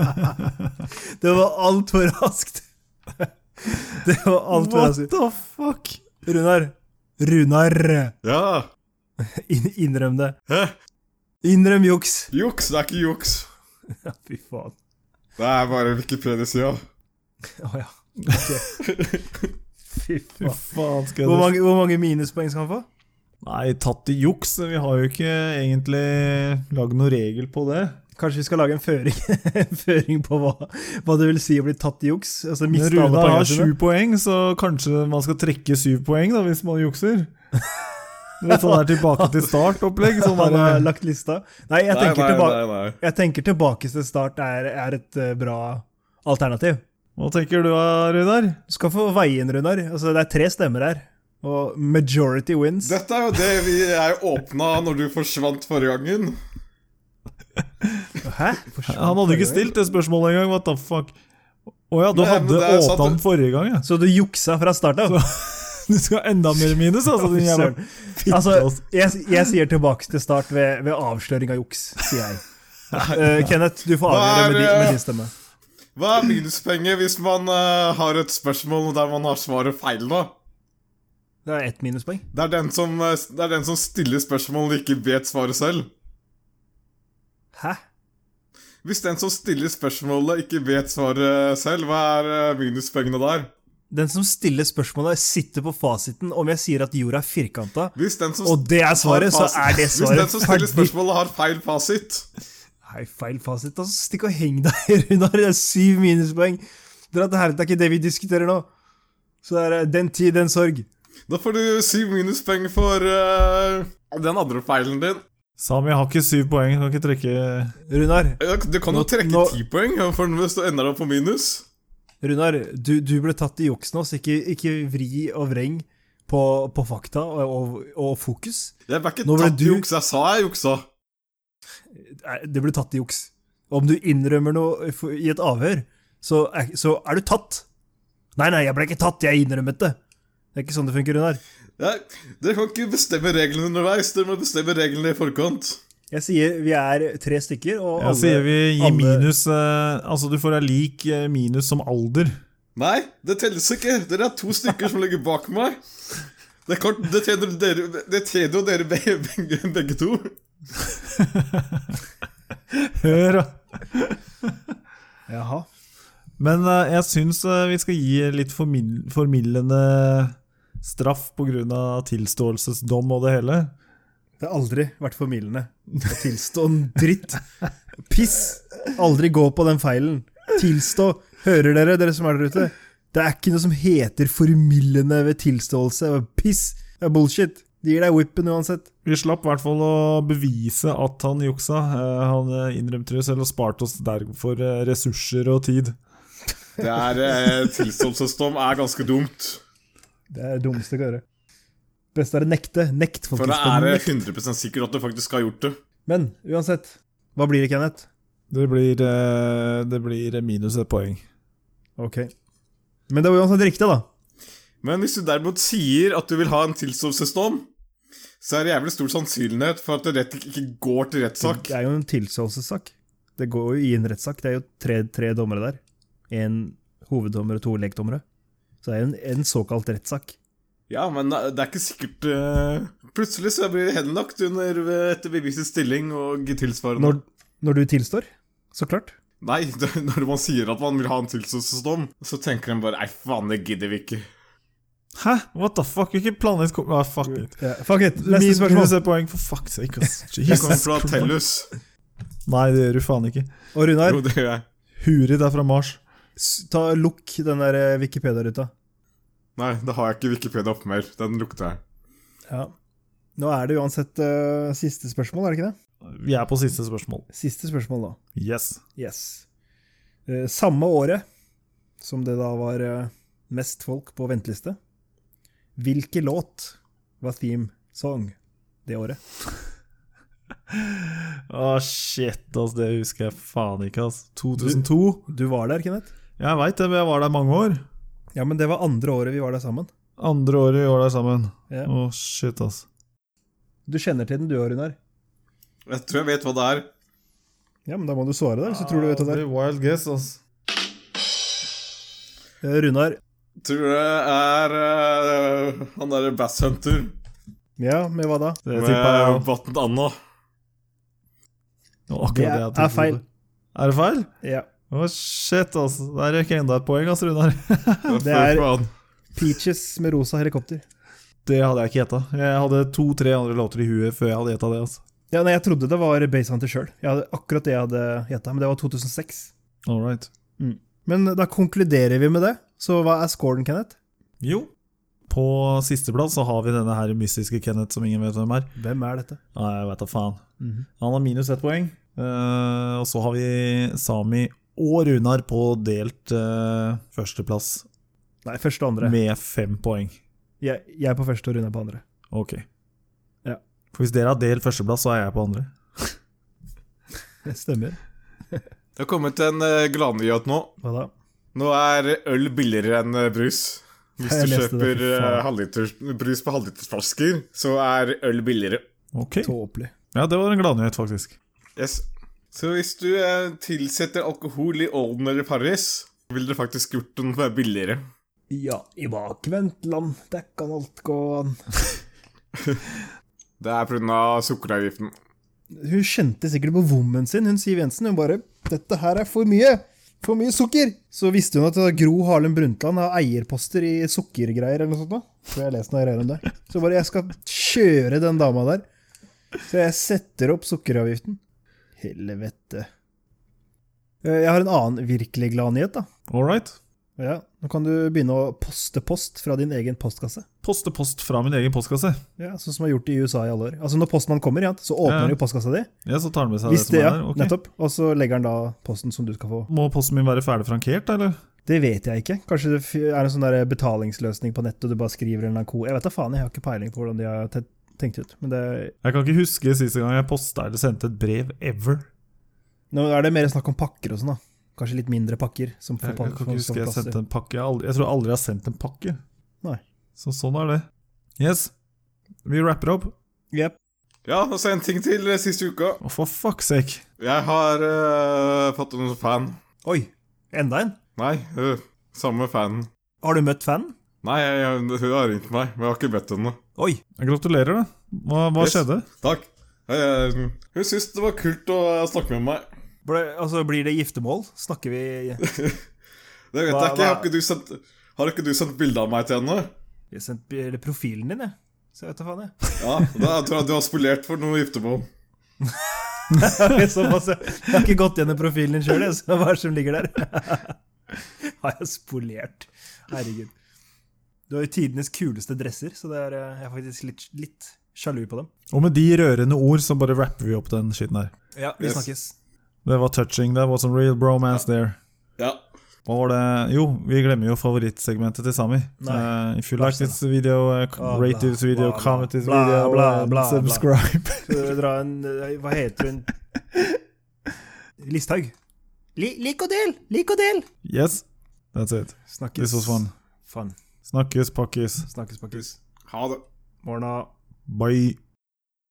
B: det var altfor raskt. Det var altfor
C: What
B: raskt.
C: the fuck?
B: Runar. Runar,
D: Ja!
B: inn- innrøm det.
D: Hæ?
B: Innrøm juks.
D: Juks, det er ikke juks.
B: Ja, fy faen.
D: Det er bare Wikipedia-sida.
B: Å ja. Ok. Fy
C: Fy
B: faen.
C: faen skal jeg
B: Hvor mange, hvor mange minuspoeng skal han få?
C: Nei, tatt i juks. Vi har jo ikke egentlig lagd noen regel på det.
B: Kanskje vi skal lage en føring, en føring på hva, hva det vil si å bli tatt i juks? Altså miste alle
C: Runar
B: poengene
C: har sju
B: sine?
C: poeng, så kanskje man skal trekke syv poeng da, hvis man jukser. Det er sånn her tilbake til start-opplegg. Sånn
B: Han har
C: bare-
B: lagt lista? Nei, jeg
D: Nei,
B: tenker,
D: nei,
B: tilba
D: nei, nei.
B: jeg tenker tilbake til start er, er et eh, bra alternativ.
C: eh, Hva tenker du, Runar?
B: Du skal få veie inn, Runar. Altså, det er tre stemmer her. Og majority wins.
D: Dette er jo det vi jeg åpna når du forsvant forrige gangen.
B: Hæ? Forsvant
C: Han hadde ikke
B: forrige gang?
C: stilt det spørsmålet engang. What the fuck? Å ja, du
D: Nei, men
C: hadde
D: det er sant,
C: åpna den
D: det-
C: forrige gang, ja.
B: Så du juksa fra start av?
C: Du skal ha enda mer minus, altså, din jævla
B: Søren.
C: fitte.
B: Altså,
C: Altså.
B: jeg, jeg sier tilbake til start ved, ved avsløring av juks, sier jeg. Eh, Kenneth, du får
D: Hva er
B: avgjøre med, din-
D: det?
B: med din stemme.
D: Hva er minuspenger hvis man eh, har et spørsmål der man har svaret feil, da?
B: Det er ett minuspoeng.
D: Det er den som, eh, det er den som stiller spørsmål og ikke vet svaret selv.
B: Hæ?
D: Hvis den som stiller spørsmålet, ikke vet svaret selv, hva er eh, minuspengene der?
B: Den som stiller spørsmålet, sitter på fasiten om jeg sier at jorda er firkanta,
D: Hvis den som
B: og det er svaret, så
D: har fasit-
B: er det
D: Hvis
B: svaret
D: den som stiller
B: ferdig.
D: spørsmålet, har feil fasit
B: Nei, feil fasit. Altså, stikk og heng deg, Runar. Det er syv minuspoeng. Dra til helvete, det er ikke det vi diskuterer nå. Så det er eh, den tid, den sorg.
D: Da får du syv minuspoeng for eh, den andre feilen din.
C: Sami har ikke syv poeng, kan ikke trekke
B: Runar,
D: Ja, Du kan jo
B: Nå-
D: trekke
B: nå-
D: ti poeng ja, for hvis du ender opp på minus.
B: Runar, du, du ble tatt i juks nå, så ikke, ikke vri og vreng på, på fakta og, og, og fokus.
D: Jeg ble ikke
B: Nå ble
D: tatt i
B: du-
D: juks. Jeg sa jeg juksa.
B: Nei, Det ble tatt i juks. Om du innrømmer noe for- i et avhør, så er, så er du tatt. Nei, nei, jeg ble ikke tatt, jeg innrømmet det. Det er ikke sånn det funker, Runar.
D: Jeg, dere kan ikke bestemme reglene underveis. Dere må bestemme reglene i forkant.
B: Jeg sier vi er tre stykker, og
C: Ja, sier vi gi
B: alle-
C: minus eh, Altså, du får ei lik eh, minus som alder.
D: Nei, det telles ikke. Dere er to stykker som ligger bak meg. Det, er klart, det tjener dere- det tjener jo dere begge, begge, begge to.
C: Hør, da.
B: Jaha.
C: Men eh, jeg syns eh, vi skal gi litt formil formildende straff pga. tilståelsesdom og det hele.
B: Det har aldri vært formildende å tilstå en dritt. Piss! Aldri gå på den feilen. Tilstå. Hører dere, dere som er der ute? Det er ikke noe som heter formildende ved tilståelse. Piss! Det er bullshit. De gir deg whippen uansett.
C: Vi slapp i hvert fall å bevise at han juksa. Eh, Han eh, innrømte det selv og sparte oss derfor eh, ressurser og tid.
D: Det er eh, Tilståelsesdom er ganske dumt.
B: Det er det dummeste jeg kan gjøre. Best er å nekte. Nekt,
D: For
B: folkens.
D: da er det
B: Nekt.
D: 100 sikkert at du faktisk har gjort det.
B: Men uansett, hva blir det, Kenneth?
C: Det blir, eh, det blir minus et poeng.
B: Ok. Men det var uansett riktig, da.
D: Men hvis du derimot sier at du vil ha en tilståelsesdom, så er det jævlig stor sannsynlighet for at det rett ikke går til rettssak.
B: Det er jo en tilståelsessak. Det går jo i en rettssak. Det er jo tre, tre dommere der. En hoveddommer og to lekdommere. Så det er jo en, en såkalt rettssak.
D: Ja, men det er ikke sikkert eh, Plutselig så blir det henlagt under eh, etter bevisets stilling og tilsvarende.
B: Når, når du tilstår, så klart.
D: Nei, det, når man sier at man vil ha en tilståelsesdom, så tenker de bare Nei, faen, det gidder vi ikke.
C: Hæ? What the fuck? Hvilken planet kom ah, Fuck it.
B: Ja, fuck it, neste
C: Min- Minus
B: spørsmål.
C: et poeng, for fuck's sake. ass.
D: Jeg kommer
C: Jesus
D: fra
C: Christ.
D: Tellus.
C: Nei, det gjør du faen ikke.
B: Og Runar,
D: Jo, det gjør jeg.
C: Hurid er fra Mars.
B: s- ta, lukk den der eh, Wikipedia-ruta.
D: Nei, det har jeg ikke Wikipedia opp mer. Den lukter jeg.
B: Ja. Nå er det uansett eh, siste spørsmål, er det ikke det?
C: Vi er på siste spørsmål.
B: Siste spørsmål, da.
C: Yes.
B: Yes. Eh, samme året som det da var eh, mest folk på venteliste, hvilken låt var theme song det året?
C: Å, shit, ass, det husker jeg faen ikke, ass. 2002?
B: Du var der, Kenneth?
C: Jeg veit det, men jeg var der mange år.
B: Ja, men det var andre året vi var der sammen.
C: Andre året vi var der sammen.
B: Ja.
C: Å, shit, ass.
B: Du kjenner til den du, Runar.
D: Jeg tror jeg vet hva det er.
B: Ja, men da må du svare der, hvis du tror du vet hva det
C: blir Wild guess, ass.
B: er. Eh, Runar,
D: Tror det er eh, han derre Bass Hunter
B: ja, med hva da?
C: Det
D: med
C: tippa jeg jo.
D: Vatnet Anna.
C: Det var akkurat
B: Det
C: jeg
B: er
C: tenkte på.
B: feil.
C: Er det feil?
B: Ja.
C: Å, shit, ass. Der røk jeg enda et poeng, ass, Runar.
B: Det er Peaches med rosa helikopter.
C: Det hadde jeg ikke gjetta. Jeg hadde to-tre andre låter i huet før jeg hadde gjetta det, ass.
B: Ja, nei, jeg trodde det var Basehunter sjøl. Akkurat det jeg hadde gjetta, men det var 2006.
C: All right.
B: Men da konkluderer vi med det. Så hva er scoren, Kenneth?
C: Jo. På sisteplass så har vi denne her mystiske Kenneth som ingen vet hvem er.
B: Hvem er dette?
C: Nei, jeg vet da faen.
B: Mhm.
C: Han har minus ett poeng. Eh, og så har vi Sami og Runar på delt eh, førsteplass
B: Nei, første og andre.
C: med fem poeng.
B: Jeg, jeg er på første og Runar på andre.
C: Ok.
B: Ja.
C: For hvis dere har delt førsteplass, så er jeg på andre.
B: Det stemmer.
D: Det har kommet en eh, gladnyhet nå.
B: Hva da?
D: Nå er øl billigere enn eh, brus. Hvis
B: Jeg
D: du
B: leste det,
D: kjøper
B: fy
D: eh,
B: faen.
D: halvliters, brus på halvlitersflasker, så er øl billigere.
C: Ok.
B: Tåpelig.
C: Ja, det var en gladnyhet, faktisk.
D: Yes. Så hvis du eh, tilsetter alkohol i Olden eller Paris, vil det faktisk gjort den billigere.
B: Ja, i bakvendtland, der kan alt gå an.
D: Det er pga. sukkeravgiften.
B: Hun kjente sikkert på vommen sin, hun Siv Jensen. Hun bare 'Dette her er for mye! For mye sukker!' Så visste hun at da Gro Harlem Brundtland har eierposter i sukkergreier eller noe sånt. da. Tror jeg har lest noe greier om det. Så bare 'Jeg skal kjøre den dama der'. Så jeg setter opp sukkeravgiften. Helvete. Eh, Jeg har en annen virkelig gladnyhet, da.
C: All right.
B: Ja, Nå kan du begynne å poste post fra din egen postkasse.
C: Poste post fra min egen postkasse.
B: Ja, Sånn som man har gjort i USA i alle år. Altså Når postmannen kommer, ja, så åpner
C: Ja.
B: han jo postkassa di.
C: Ja, så tar han med seg det
B: Hvis
C: som
B: det, ja,
C: er der. ok.
B: nettopp. Og så legger han da posten som du skal få.
C: Må posten min være ferdig frankert, eller?
B: Det vet jeg ikke. Kanskje det f- er en sånn der betalingsløsning på nettet, og du bare skriver en eller annen ko. Jeg vet da faen, jeg har ikke peiling på hvordan de har te- tenkt ut. Men det,
C: Jeg kan ikke huske siste gang jeg posta eller sendte et brev ever.
B: nå er det mer snakk om pakker og sånn, da. Kanskje litt mindre pakker som
C: Jeg kan
B: får pa-
C: ikke
B: som
C: huske
B: får
C: jeg
B: plass
C: sendte
B: til.
C: en pakke. Jeg, har aldri, jeg tror aldri jeg har sendt en pakke.
B: Nei.
C: Så sånn er det. Yes. Vi rapper opp.
B: Jep.
D: Ja, og så en ting til eh, siste uka.
C: Å, for fuck's sake.
D: Jeg har eh, fått en fan.
B: Oi, enda en?
D: Nei, eh, samme fanen.
B: Har du møtt fanen?
D: Nei, jeg, jeg, hun har ringt meg, men jeg har ikke bedt henne.
B: Oi.
C: Gratulerer, da. Hva, hva
D: Yes.
C: skjedde?
D: Takk. Jeg, eh, hun syntes det var kult å eh, snakke med meg.
B: altså, blir det giftermål? Snakker vi
D: Det vet
B: Hva-
D: jeg ikke. Har
B: hva-
D: ikke du sendt, har ikke du sendt bilde av meg til henne?
B: Jeg sendte profilen din, jeg. Så jeg vet da faen, jeg.
D: Ja, da tror jeg du har spolert for noe giftermål.
B: Såpass, jeg. Jeg har ikke gått gjennom profilen din sjøl, så hva er det som ligger der? Har jeg spolert? Herregud. Du har jo tidenes kuleste dresser, så det er, eh, jeg er faktisk litt, litt sjalu på dem.
C: Og med de rørende ord så bare rapper vi opp den skitten her.
B: Ja, vi
D: Yes.
B: snakkes.
C: Det var touching. Det var some real bromance there.
D: Ja.
C: Hva var det Jo, vi glemmer jo favorittsegmentet til Sami.
B: Nei.
C: Eh, if you like this video, eh,
B: Ah, bla,
C: rate this video,
B: bla, bla.
C: comment this
B: Bla,
C: video,
B: bla,
C: and
B: bla, bla.
C: subscribe.
B: Skal du dra en eh, Hva heter hun? Listhaug. Li, lik og del! Lik og del!
C: Yes, that's it.
B: Snakkes.
C: This was fun.
B: Fun.
C: Snakkes, pakkes.
B: Snakkes, pakkes.
D: Ha det.
B: Morna.
C: Bye.